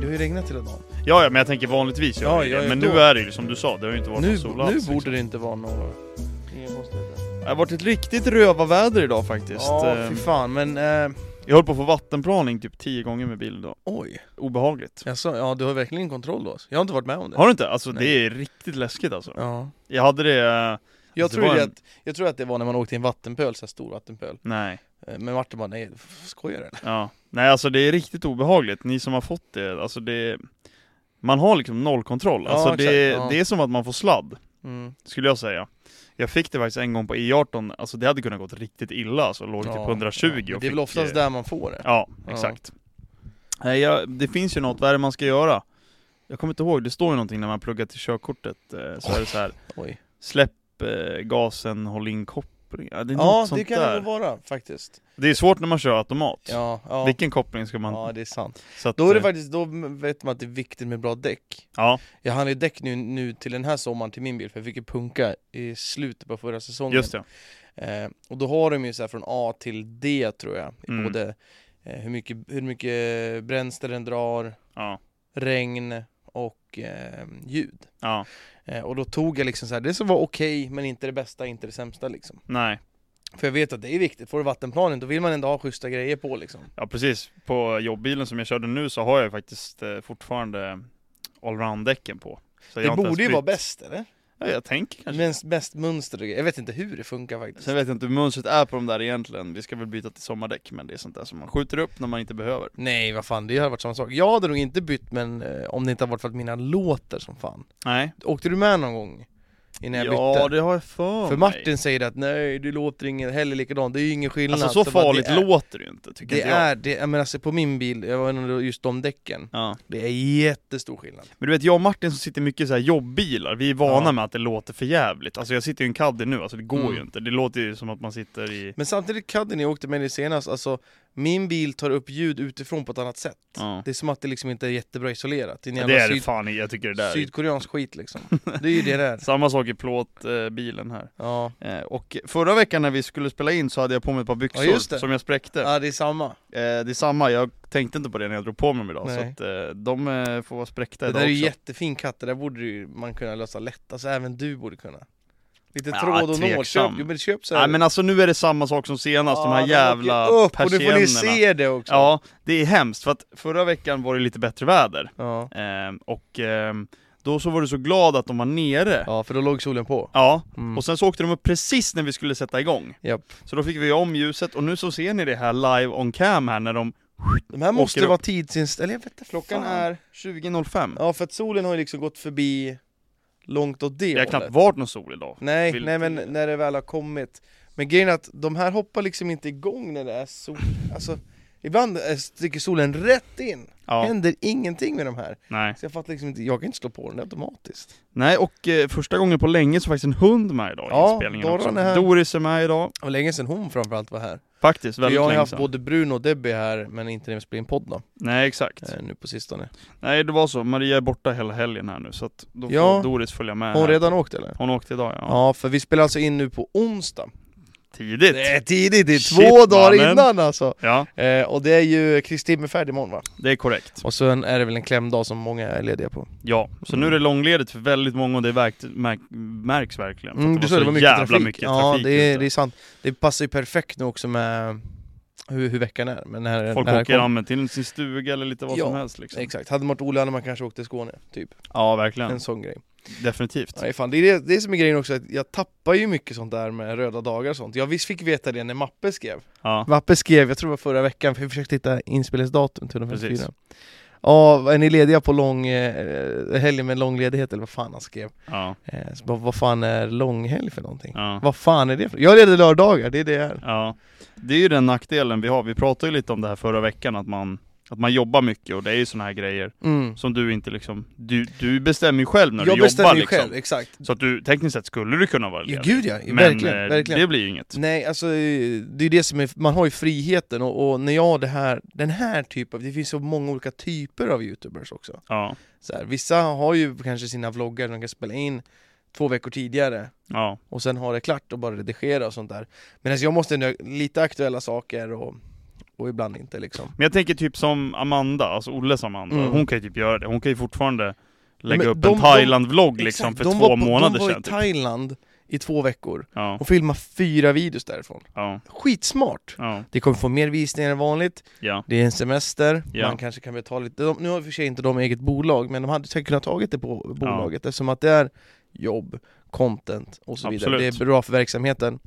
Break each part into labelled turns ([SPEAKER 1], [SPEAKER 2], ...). [SPEAKER 1] Det har ju regnat hela dagen.
[SPEAKER 2] Ja, ja, men jag tänker vanligtvis gör
[SPEAKER 1] Ja,
[SPEAKER 2] ja, det.
[SPEAKER 1] ja, ja,
[SPEAKER 2] Men
[SPEAKER 1] då-
[SPEAKER 2] nu är det ju som du sa, det har ju inte varit
[SPEAKER 1] Nu,
[SPEAKER 2] någon sol alls.
[SPEAKER 1] nu
[SPEAKER 2] liksom.
[SPEAKER 1] borde det inte vara några... Inga konstigheter.
[SPEAKER 2] Det har varit ett riktigt rövarväder idag faktiskt.
[SPEAKER 1] Ja,
[SPEAKER 2] Eh,
[SPEAKER 1] fy fan. Men, eh,
[SPEAKER 2] Jag höll på att få vattenplaning typ tio gånger med bil idag.
[SPEAKER 1] oj.
[SPEAKER 2] Obehagligt.
[SPEAKER 1] Jaså, ja du har verkligen kontroll då. Jag har inte varit med om det.
[SPEAKER 2] Har du inte? Alltså
[SPEAKER 1] Nej.
[SPEAKER 2] det är riktigt läskigt alltså.
[SPEAKER 1] Ja.
[SPEAKER 2] Jag hade det... eh,
[SPEAKER 1] Jag,
[SPEAKER 2] Alltså, det
[SPEAKER 1] tror
[SPEAKER 2] var
[SPEAKER 1] det
[SPEAKER 2] en-
[SPEAKER 1] att, jag tror att det var när man åkte i en vattenpöl, så här stor vattenpöl.
[SPEAKER 2] Nej.
[SPEAKER 1] Eh, Men Martin bara, nej, f- skojar du eller?
[SPEAKER 2] Ja. Nej alltså det är riktigt obehagligt. Ni som har fått det, alltså det... Man har liksom noll kontroll.
[SPEAKER 1] Ja,
[SPEAKER 2] Alltså det,
[SPEAKER 1] exakt. Ja.
[SPEAKER 2] det är som att man får sladd.
[SPEAKER 1] Mm.
[SPEAKER 2] skulle jag säga. Jag fick det faktiskt en gång på E18, alltså det hade kunnat gått riktigt illa alltså, låg typ
[SPEAKER 1] Ja,
[SPEAKER 2] 120
[SPEAKER 1] ja. Men
[SPEAKER 2] och
[SPEAKER 1] Det är väl
[SPEAKER 2] fick,
[SPEAKER 1] oftast
[SPEAKER 2] eh,
[SPEAKER 1] där man får det.
[SPEAKER 2] Ja,
[SPEAKER 1] Ja.
[SPEAKER 2] exakt. Nej, jag, det finns ju något, vad är det man ska göra? Jag kommer inte ihåg, det står ju någonting när man pluggar till körkortet, eh, så är det så här.
[SPEAKER 1] Oj.
[SPEAKER 2] släpp eh, gasen, håll in koppling, ja, det är
[SPEAKER 1] Ja,
[SPEAKER 2] något
[SPEAKER 1] det
[SPEAKER 2] sånt
[SPEAKER 1] kan det
[SPEAKER 2] där.
[SPEAKER 1] nog vara faktiskt.
[SPEAKER 2] Det är svårt när man kör automat.
[SPEAKER 1] Ja, ja.
[SPEAKER 2] Vilken koppling ska man...
[SPEAKER 1] ja, det är sant.
[SPEAKER 2] så att,
[SPEAKER 1] Då är det
[SPEAKER 2] eh,
[SPEAKER 1] faktiskt, då vet man att det är viktigt med bra däck.
[SPEAKER 2] Ja,
[SPEAKER 1] Jag handlade ju däck nu, nu till den här sommaren till min bil för jag fick ju punka i slutet på förra säsongen
[SPEAKER 2] just det.
[SPEAKER 1] Eh, Och då har de ju så här från A till D tror jag i
[SPEAKER 2] Mm.
[SPEAKER 1] Både eh, hur mycket, hur mycket bränsle den drar,
[SPEAKER 2] Ja,
[SPEAKER 1] regn och eh, ljud
[SPEAKER 2] ja,
[SPEAKER 1] eh, Och då tog jag liksom så här, det som var okej men inte det bästa, inte det sämsta liksom
[SPEAKER 2] nej.
[SPEAKER 1] För jag vet att det är viktigt, får du vattenplanen då vill man ändå ha schyssta grejer på liksom
[SPEAKER 2] Ja precis, på jobbbilen som jag körde nu så har jag ju faktiskt eh, fortfarande allround-däcken på. Så jag
[SPEAKER 1] Det
[SPEAKER 2] har inte ens
[SPEAKER 1] borde ju
[SPEAKER 2] bytt.
[SPEAKER 1] vara bäst eller?
[SPEAKER 2] Ja, jag tänker kanske.
[SPEAKER 1] Men bäst mönster och grejer, jag vet inte hur det funkar faktiskt
[SPEAKER 2] Sen vet jag inte hur mönstret är på de där egentligen. Vi ska väl byta till sommardäck, men det är sånt där som man skjuter upp när man inte behöver.
[SPEAKER 1] Nej vad fan, det hade varit samma sak. Jag hade nog inte bytt men eh, om det inte hade varit för att mina låter som fan.
[SPEAKER 2] Nej.
[SPEAKER 1] Åkte du med någon gång? Innan jag
[SPEAKER 2] ja,
[SPEAKER 1] bytte?
[SPEAKER 2] det har jag för
[SPEAKER 1] för
[SPEAKER 2] mig.
[SPEAKER 1] Martin säger det att nej, du låter ingen heller likadant, det är ju ingen skillnad.
[SPEAKER 2] Alltså så
[SPEAKER 1] bara,
[SPEAKER 2] farligt
[SPEAKER 1] det är,
[SPEAKER 2] låter det ju inte, tycker
[SPEAKER 1] Det
[SPEAKER 2] inte jag.
[SPEAKER 1] är, det, jag menar, alltså, på min bil, jag var nog just de däcken,
[SPEAKER 2] Ja.
[SPEAKER 1] det är jättestor skillnad.
[SPEAKER 2] Men du vet, jag och Martin som sitter mycket i så här jobbbilar, vi är vana
[SPEAKER 1] Ja.
[SPEAKER 2] med att det låter för jävligt. Alltså jag sitter i en Caddy nu, alltså det går
[SPEAKER 1] Mm.
[SPEAKER 2] ju inte. Det låter ju som att man sitter i...
[SPEAKER 1] Men samtidigt Caddien jag åkte med det senast, alltså min bil tar upp ljud utifrån på ett annat sätt.
[SPEAKER 2] Ja.
[SPEAKER 1] Det är som att det liksom inte är jättebra isolerat. Det är en
[SPEAKER 2] Det,
[SPEAKER 1] jävla
[SPEAKER 2] är det
[SPEAKER 1] syd,
[SPEAKER 2] fan i, jag tycker det där. är-
[SPEAKER 1] sydkoreansk skit liksom. Det är ju det där.
[SPEAKER 2] Samma sak i plåtbilen här.
[SPEAKER 1] Ja,
[SPEAKER 2] Eh, Och förra veckan när vi skulle spela in så hade jag på mig ett par byxor
[SPEAKER 1] Ja, just det.
[SPEAKER 2] som jag spräckte.
[SPEAKER 1] ja det är samma.
[SPEAKER 2] Eh, det är samma, jag tänkte inte på det när jag drog på mig dem idag
[SPEAKER 1] Nej.
[SPEAKER 2] så att eh, de eh, får vara spräckta
[SPEAKER 1] Det
[SPEAKER 2] idag
[SPEAKER 1] där är ju
[SPEAKER 2] också.
[SPEAKER 1] jättefin katt, det där borde ju man kunna lösa lätt, alltså även du borde kunna Lite
[SPEAKER 2] Ja,
[SPEAKER 1] tråd och nål, köp,
[SPEAKER 2] tveksam.
[SPEAKER 1] jo, men köp så här.
[SPEAKER 2] Nej men alltså nu är det samma sak som senast, de
[SPEAKER 1] Ja,
[SPEAKER 2] här
[SPEAKER 1] de
[SPEAKER 2] jävla
[SPEAKER 1] åker upp,
[SPEAKER 2] persiennerna.
[SPEAKER 1] Och nu får ni se det också!
[SPEAKER 2] Ja, det är hemskt för att förra veckan var det lite bättre väder.
[SPEAKER 1] ja.
[SPEAKER 2] Ehm, och ehm, då så var du så glad att de var nere. Ja.
[SPEAKER 1] Ja, för då låg solen på mm.
[SPEAKER 2] och sen så åkte de upp precis när vi skulle sätta igång.
[SPEAKER 1] Japp.
[SPEAKER 2] Så då fick vi om ljuset och nu så ser ni det här live on cam här när de...
[SPEAKER 1] De här måste
[SPEAKER 2] åker upp.
[SPEAKER 1] vara tidsinställda, eller jag vet inte,
[SPEAKER 2] Klockan
[SPEAKER 1] fan.
[SPEAKER 2] är 20.05.
[SPEAKER 1] Ja för att solen har ju liksom gått förbi långt åt det
[SPEAKER 2] det har
[SPEAKER 1] hållet
[SPEAKER 2] knappt varit någon sol idag.
[SPEAKER 1] Nej,
[SPEAKER 2] vill
[SPEAKER 1] nej men
[SPEAKER 2] inte-
[SPEAKER 1] när det väl har kommit Men grejen är att de här hoppar liksom inte igång när det är sol, alltså Ibland eh, sticker solen rätt in,
[SPEAKER 2] Ja,
[SPEAKER 1] händer ingenting med de här
[SPEAKER 2] nej.
[SPEAKER 1] Så jag fattar liksom inte, jag kan inte slå på den automatiskt
[SPEAKER 2] Nej, och eh, första gången på länge så var faktiskt en hund med idag i
[SPEAKER 1] Ja,
[SPEAKER 2] inspelningen
[SPEAKER 1] Dorran
[SPEAKER 2] också.
[SPEAKER 1] är här.
[SPEAKER 2] Doris är med idag,
[SPEAKER 1] Det var länge sedan hon framförallt var här.
[SPEAKER 2] faktiskt
[SPEAKER 1] För
[SPEAKER 2] väldigt
[SPEAKER 1] jag har ju
[SPEAKER 2] länge
[SPEAKER 1] haft
[SPEAKER 2] sedan.
[SPEAKER 1] både Bruno och Debbie här, men inte när vi spelar in podd då,
[SPEAKER 2] Nej, exakt.
[SPEAKER 1] eh, nu på sistone.
[SPEAKER 2] Nej, det var så. Maria är borta hela helgen här nu, så att då får
[SPEAKER 1] Ja.
[SPEAKER 2] Doris följa med
[SPEAKER 1] Har hon
[SPEAKER 2] här.
[SPEAKER 1] redan åkt eller?
[SPEAKER 2] Hon åkte idag, ja.
[SPEAKER 1] Ja, för vi spelar alltså in nu på onsdag.
[SPEAKER 2] Tidigt!
[SPEAKER 1] Det är tidigt, det är
[SPEAKER 2] Shit,
[SPEAKER 1] två dagar
[SPEAKER 2] mannen.
[SPEAKER 1] innan alltså!
[SPEAKER 2] Ja,
[SPEAKER 1] Eh, och det är ju Kristi himmelfärd imorgon va?
[SPEAKER 2] det är korrekt.
[SPEAKER 1] Och sen är det väl en klämdag som många är lediga på.
[SPEAKER 2] Ja, så nu är
[SPEAKER 1] Mm.
[SPEAKER 2] det långledigt för väldigt många och det verkt, märk, märks verkligen. För att
[SPEAKER 1] Mm, du
[SPEAKER 2] det
[SPEAKER 1] sa
[SPEAKER 2] var
[SPEAKER 1] det
[SPEAKER 2] så
[SPEAKER 1] var mycket
[SPEAKER 2] jävla
[SPEAKER 1] trafik.
[SPEAKER 2] mycket
[SPEAKER 1] ja,
[SPEAKER 2] trafik
[SPEAKER 1] det är,
[SPEAKER 2] ute.
[SPEAKER 1] det är sant. Det passar ju perfekt nu också med hur, hur veckan är. Men när,
[SPEAKER 2] Folk
[SPEAKER 1] när det
[SPEAKER 2] åker
[SPEAKER 1] kom-
[SPEAKER 2] använt till sin stuga eller lite vad
[SPEAKER 1] Ja,
[SPEAKER 2] som helst liksom.
[SPEAKER 1] Exakt, hade man varit Olle hade man kanske åkt till Skåne, typ.
[SPEAKER 2] Ja,
[SPEAKER 1] En
[SPEAKER 2] verkligen.
[SPEAKER 1] sån grej.
[SPEAKER 2] Definitivt.
[SPEAKER 1] Nej fan, det är det, det som är grejen också, att jag tappar ju mycket sånt där med röda dagar och sånt. Jag visst fick veta det när Mappe skrev.
[SPEAKER 2] Ja.
[SPEAKER 1] Mappe skrev, jag tror det var förra veckan, för vi försökte hitta inspelningsdatum till de
[SPEAKER 2] Precis.
[SPEAKER 1] 54. Ja, är ni lediga på lång eh, helg med lång ledighet eller vad fan han skrev?
[SPEAKER 2] Ja.
[SPEAKER 1] Eh, så bara, vad fan är lång helg för någonting?
[SPEAKER 2] Ja.
[SPEAKER 1] Vad fan är det för Jag är ledig lördagar, det är det jag är.
[SPEAKER 2] Ja, det är ju den nackdelen vi har. Vi pratade ju lite om det här förra veckan, att man, att man jobbar mycket och det är ju såna här grejer
[SPEAKER 1] Mm.
[SPEAKER 2] som du inte liksom, du, du bestämmer ju själv när
[SPEAKER 1] Jag
[SPEAKER 2] du jobbar
[SPEAKER 1] bestämmer ju
[SPEAKER 2] liksom.
[SPEAKER 1] själv, exakt.
[SPEAKER 2] Så att du, tekniskt sett skulle du kunna vara
[SPEAKER 1] Ja,
[SPEAKER 2] ledig.
[SPEAKER 1] gud ja,
[SPEAKER 2] Men
[SPEAKER 1] verkligen,
[SPEAKER 2] eh,
[SPEAKER 1] verkligen.
[SPEAKER 2] det blir ju inget.
[SPEAKER 1] Nej, alltså eh, det är ju det som är, man har ju friheten och, och när jag har det här, den här typen, det finns så många olika typer av youtubers också.
[SPEAKER 2] Ja,
[SPEAKER 1] Så här, vissa har ju kanske sina vloggar som de kan spela in två veckor tidigare
[SPEAKER 2] ja,
[SPEAKER 1] och sen ha det klart och bara redigera och sånt där. Medan jag måste nö- lite aktuella saker och och ibland inte liksom.
[SPEAKER 2] Men jag tänker typ som Amanda, alltså Olles Amanda,
[SPEAKER 1] Mm.
[SPEAKER 2] hon kan ju typ göra det. Hon kan ju fortfarande lägga
[SPEAKER 1] Men
[SPEAKER 2] upp
[SPEAKER 1] de- de-
[SPEAKER 2] en Thailand-vlogg liksom för
[SPEAKER 1] Exakt, de
[SPEAKER 2] två
[SPEAKER 1] var på- De
[SPEAKER 2] månader
[SPEAKER 1] var
[SPEAKER 2] sedan.
[SPEAKER 1] i
[SPEAKER 2] Typ.
[SPEAKER 1] Thailand i två veckor
[SPEAKER 2] Ja,
[SPEAKER 1] och filmade fyra videos därifrån.
[SPEAKER 2] ja,
[SPEAKER 1] Skitsmart!
[SPEAKER 2] ja,
[SPEAKER 1] Det kommer få mer visningar än vanligt,
[SPEAKER 2] ja.
[SPEAKER 1] det är en semester,
[SPEAKER 2] Ja.
[SPEAKER 1] man kanske kan betala lite, de, nu har i och för sig inte de eget bolag, men de hade säkert kunnat tagit det på bolaget eftersom att det är jobb, content och så vidare. Det
[SPEAKER 2] Absolut.
[SPEAKER 1] är bra för verksamheten.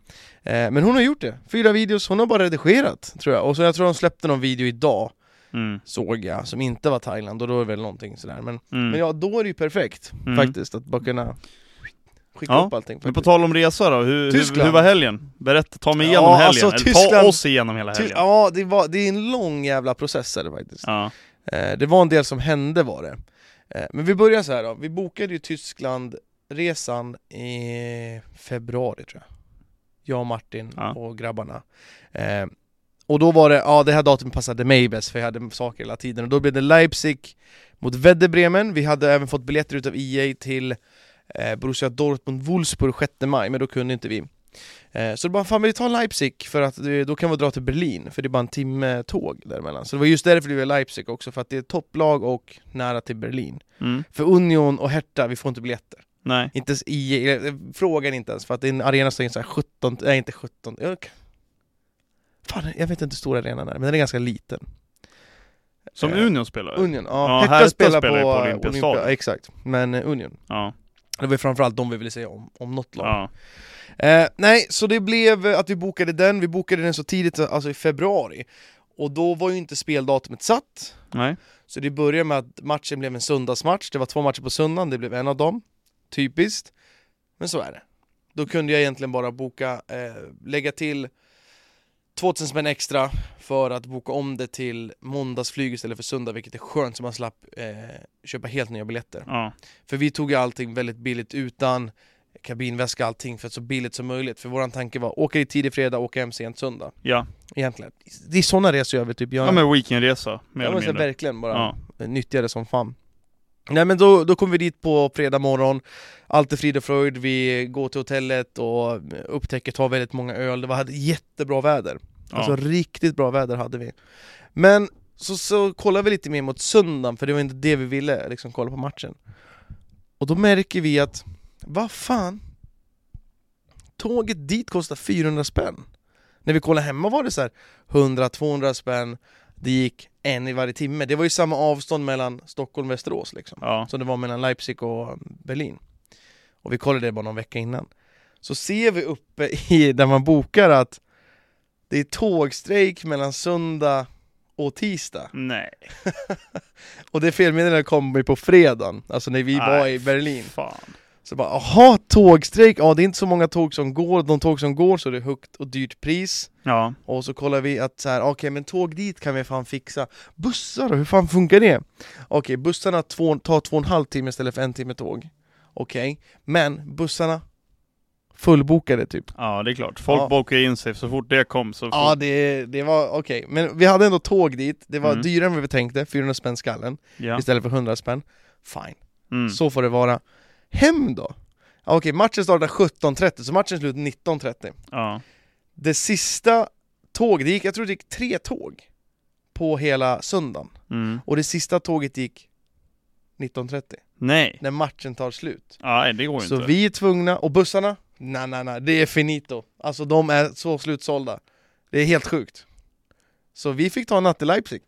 [SPEAKER 1] Eh, men hon har gjort det, fyra videos, hon har bara redigerat tror jag. Och så jag tror de släppte någon video idag,
[SPEAKER 2] Mm,
[SPEAKER 1] såg jag, som inte var Thailand och då är det väl någonting sådär. Men,
[SPEAKER 2] mm.
[SPEAKER 1] men ja, då är det ju perfekt
[SPEAKER 2] Mm.
[SPEAKER 1] faktiskt att bara kunna skicka
[SPEAKER 2] Ja,
[SPEAKER 1] upp allting.
[SPEAKER 2] Men på
[SPEAKER 1] faktiskt.
[SPEAKER 2] tal om resa då, hur, hur,
[SPEAKER 1] Tyskland.
[SPEAKER 2] hur var helgen? Berätta, ta mig
[SPEAKER 1] Ja,
[SPEAKER 2] igenom helgen,
[SPEAKER 1] alltså,
[SPEAKER 2] eller ta
[SPEAKER 1] Tyskland-
[SPEAKER 2] oss igenom hela
[SPEAKER 1] Ty-
[SPEAKER 2] helgen.
[SPEAKER 1] ja, det, var, det är en lång jävla process är det faktiskt.
[SPEAKER 2] Ja,
[SPEAKER 1] Eh, det var en del som hände var det. Eh, men vi börjar så här då, vi bokade ju Tysklandresan i februari tror jag. Jag och Martin
[SPEAKER 2] Ja.
[SPEAKER 1] och grabbarna. Eh, och då var det, ja det här datumet passade mig bäst för jag hade saker hela tiden. Och då blev det Leipzig mot Werder Bremen, vi hade även fått biljetter utav EA till eh, Borussia Dortmund-Wolfsburg 6 maj, men då kunde inte vi. Eh, Så det bara, fan men vi tar Leipzig för att eh, då kan vi dra till Berlin, för det är bara en timme tåg däremellan. Så det var just därför det blev Leipzig också, för att det är topplag och nära till Berlin.
[SPEAKER 2] mm,
[SPEAKER 1] För Union och Hertha, vi får inte biljetter.
[SPEAKER 2] nej.
[SPEAKER 1] Inte ens i, eh, frågan inte ens, för att det är en arena som är så här 17, nej inte 17, jag, kan- fan jag vet inte hur stor arenan är, men den är ganska liten.
[SPEAKER 2] Som
[SPEAKER 1] Eh,
[SPEAKER 2] Union spelar?
[SPEAKER 1] Union, ja.
[SPEAKER 2] Ja,
[SPEAKER 1] Hertha,
[SPEAKER 2] Hertha
[SPEAKER 1] spelar på,
[SPEAKER 2] spelar ju på
[SPEAKER 1] eh,
[SPEAKER 2] Olympiastadion.
[SPEAKER 1] Olympia, exakt. Men eh, Union.
[SPEAKER 2] Ja,
[SPEAKER 1] Det var ju framförallt de vi ville säga om, om något lag.
[SPEAKER 2] ja,
[SPEAKER 1] Eh, nej, så det blev eh, att vi bokade den, vi bokade den så tidigt, alltså i februari. Och då var ju inte speldatumet satt,
[SPEAKER 2] nej.
[SPEAKER 1] så det började med att matchen blev en söndagsmatch, det var två matcher på söndagen, det blev en av dem. Typiskt. Men så är det. Då kunde jag egentligen bara boka, eh, lägga till 2000 spänn extra för att boka om det till måndagsflyg istället för söndag, vilket är skönt så man slapp eh, köpa helt nya biljetter.
[SPEAKER 2] Ja,
[SPEAKER 1] För vi tog ju allting väldigt billigt utan kabinväska allting för att så billigt som möjligt. För våran tanke var åka i tidig fredag, åka hem sent söndag.
[SPEAKER 2] ja.
[SPEAKER 1] Egentligen. Det är sådana resor jag vill typ göra.
[SPEAKER 2] ja men weekendresa, mer
[SPEAKER 1] jag
[SPEAKER 2] eller
[SPEAKER 1] måste
[SPEAKER 2] mindre.
[SPEAKER 1] verkligen bara
[SPEAKER 2] Ja,
[SPEAKER 1] nyttja det som fan. Nej men då, då kom vi dit på fredag morgon, allt är frid och fröjd, vi går till hotellet och upptäcker, tar väldigt många öl, det var hade jättebra väder.
[SPEAKER 2] ja.
[SPEAKER 1] Alltså riktigt bra väder hade vi. Men så, så kollar vi lite mer mot söndagen, för det var inte det vi ville, liksom kolla på matchen. Och då märker vi att, vad fan? Tåget dit kostar 400 spänn. När vi kollar hemma var det så här 100-200 spänn, det gick en i varje timme. Det var ju samma avstånd mellan Stockholm och Västerås liksom
[SPEAKER 2] ja.
[SPEAKER 1] som det var mellan Leipzig och Berlin. Och vi kollade det bara någon vecka innan. Så ser vi uppe i, där man bokar att det är tågstrejk mellan söndag och tisdag.
[SPEAKER 2] Nej.
[SPEAKER 1] Och det felmeddelandet kom ju på fredagen, alltså när vi var
[SPEAKER 2] Nej,
[SPEAKER 1] i Berlin.
[SPEAKER 2] Fan.
[SPEAKER 1] Så bara, aha, tågstrejk, ja det är inte så många tåg som går, de tåg som går så är det högt och dyrt pris.
[SPEAKER 2] Ja,
[SPEAKER 1] Och så kollar vi att så här, okej men tåg dit kan vi fan fixa. Bussar då, hur fan funkar det? Okej, bussarna två, tar två och en halv timme istället för en timme tåg. Okej, men bussarna fullbokade typ.
[SPEAKER 2] ja det är klart. Folk
[SPEAKER 1] Ja.
[SPEAKER 2] bokade in sig så fort det kom så...
[SPEAKER 1] Ja, det, det var okej. Men vi hade ändå tåg dit, det var
[SPEAKER 2] Mm.
[SPEAKER 1] dyrare än vad vi tänkte, 400 spänn skallen
[SPEAKER 2] ja.
[SPEAKER 1] istället för 100 spänn. Fine,
[SPEAKER 2] Mm.
[SPEAKER 1] så får det vara. Hem då? Ja, Okej, matchen startar 17.30, så matchen är slut 19.30.
[SPEAKER 2] Ja.
[SPEAKER 1] Det sista tåget, det gick, jag tror det gick tre tåg på hela söndagen.
[SPEAKER 2] Mm.
[SPEAKER 1] Och det sista tåget gick 19.30,
[SPEAKER 2] Nej.
[SPEAKER 1] när matchen tar slut.
[SPEAKER 2] Nej, det går ju
[SPEAKER 1] Så
[SPEAKER 2] inte.
[SPEAKER 1] vi är tvungna, och bussarna, nej nej nej, det är finito. Alltså de är så slutsålda. Det är helt sjukt. Så vi fick ta en natt i Leipzig.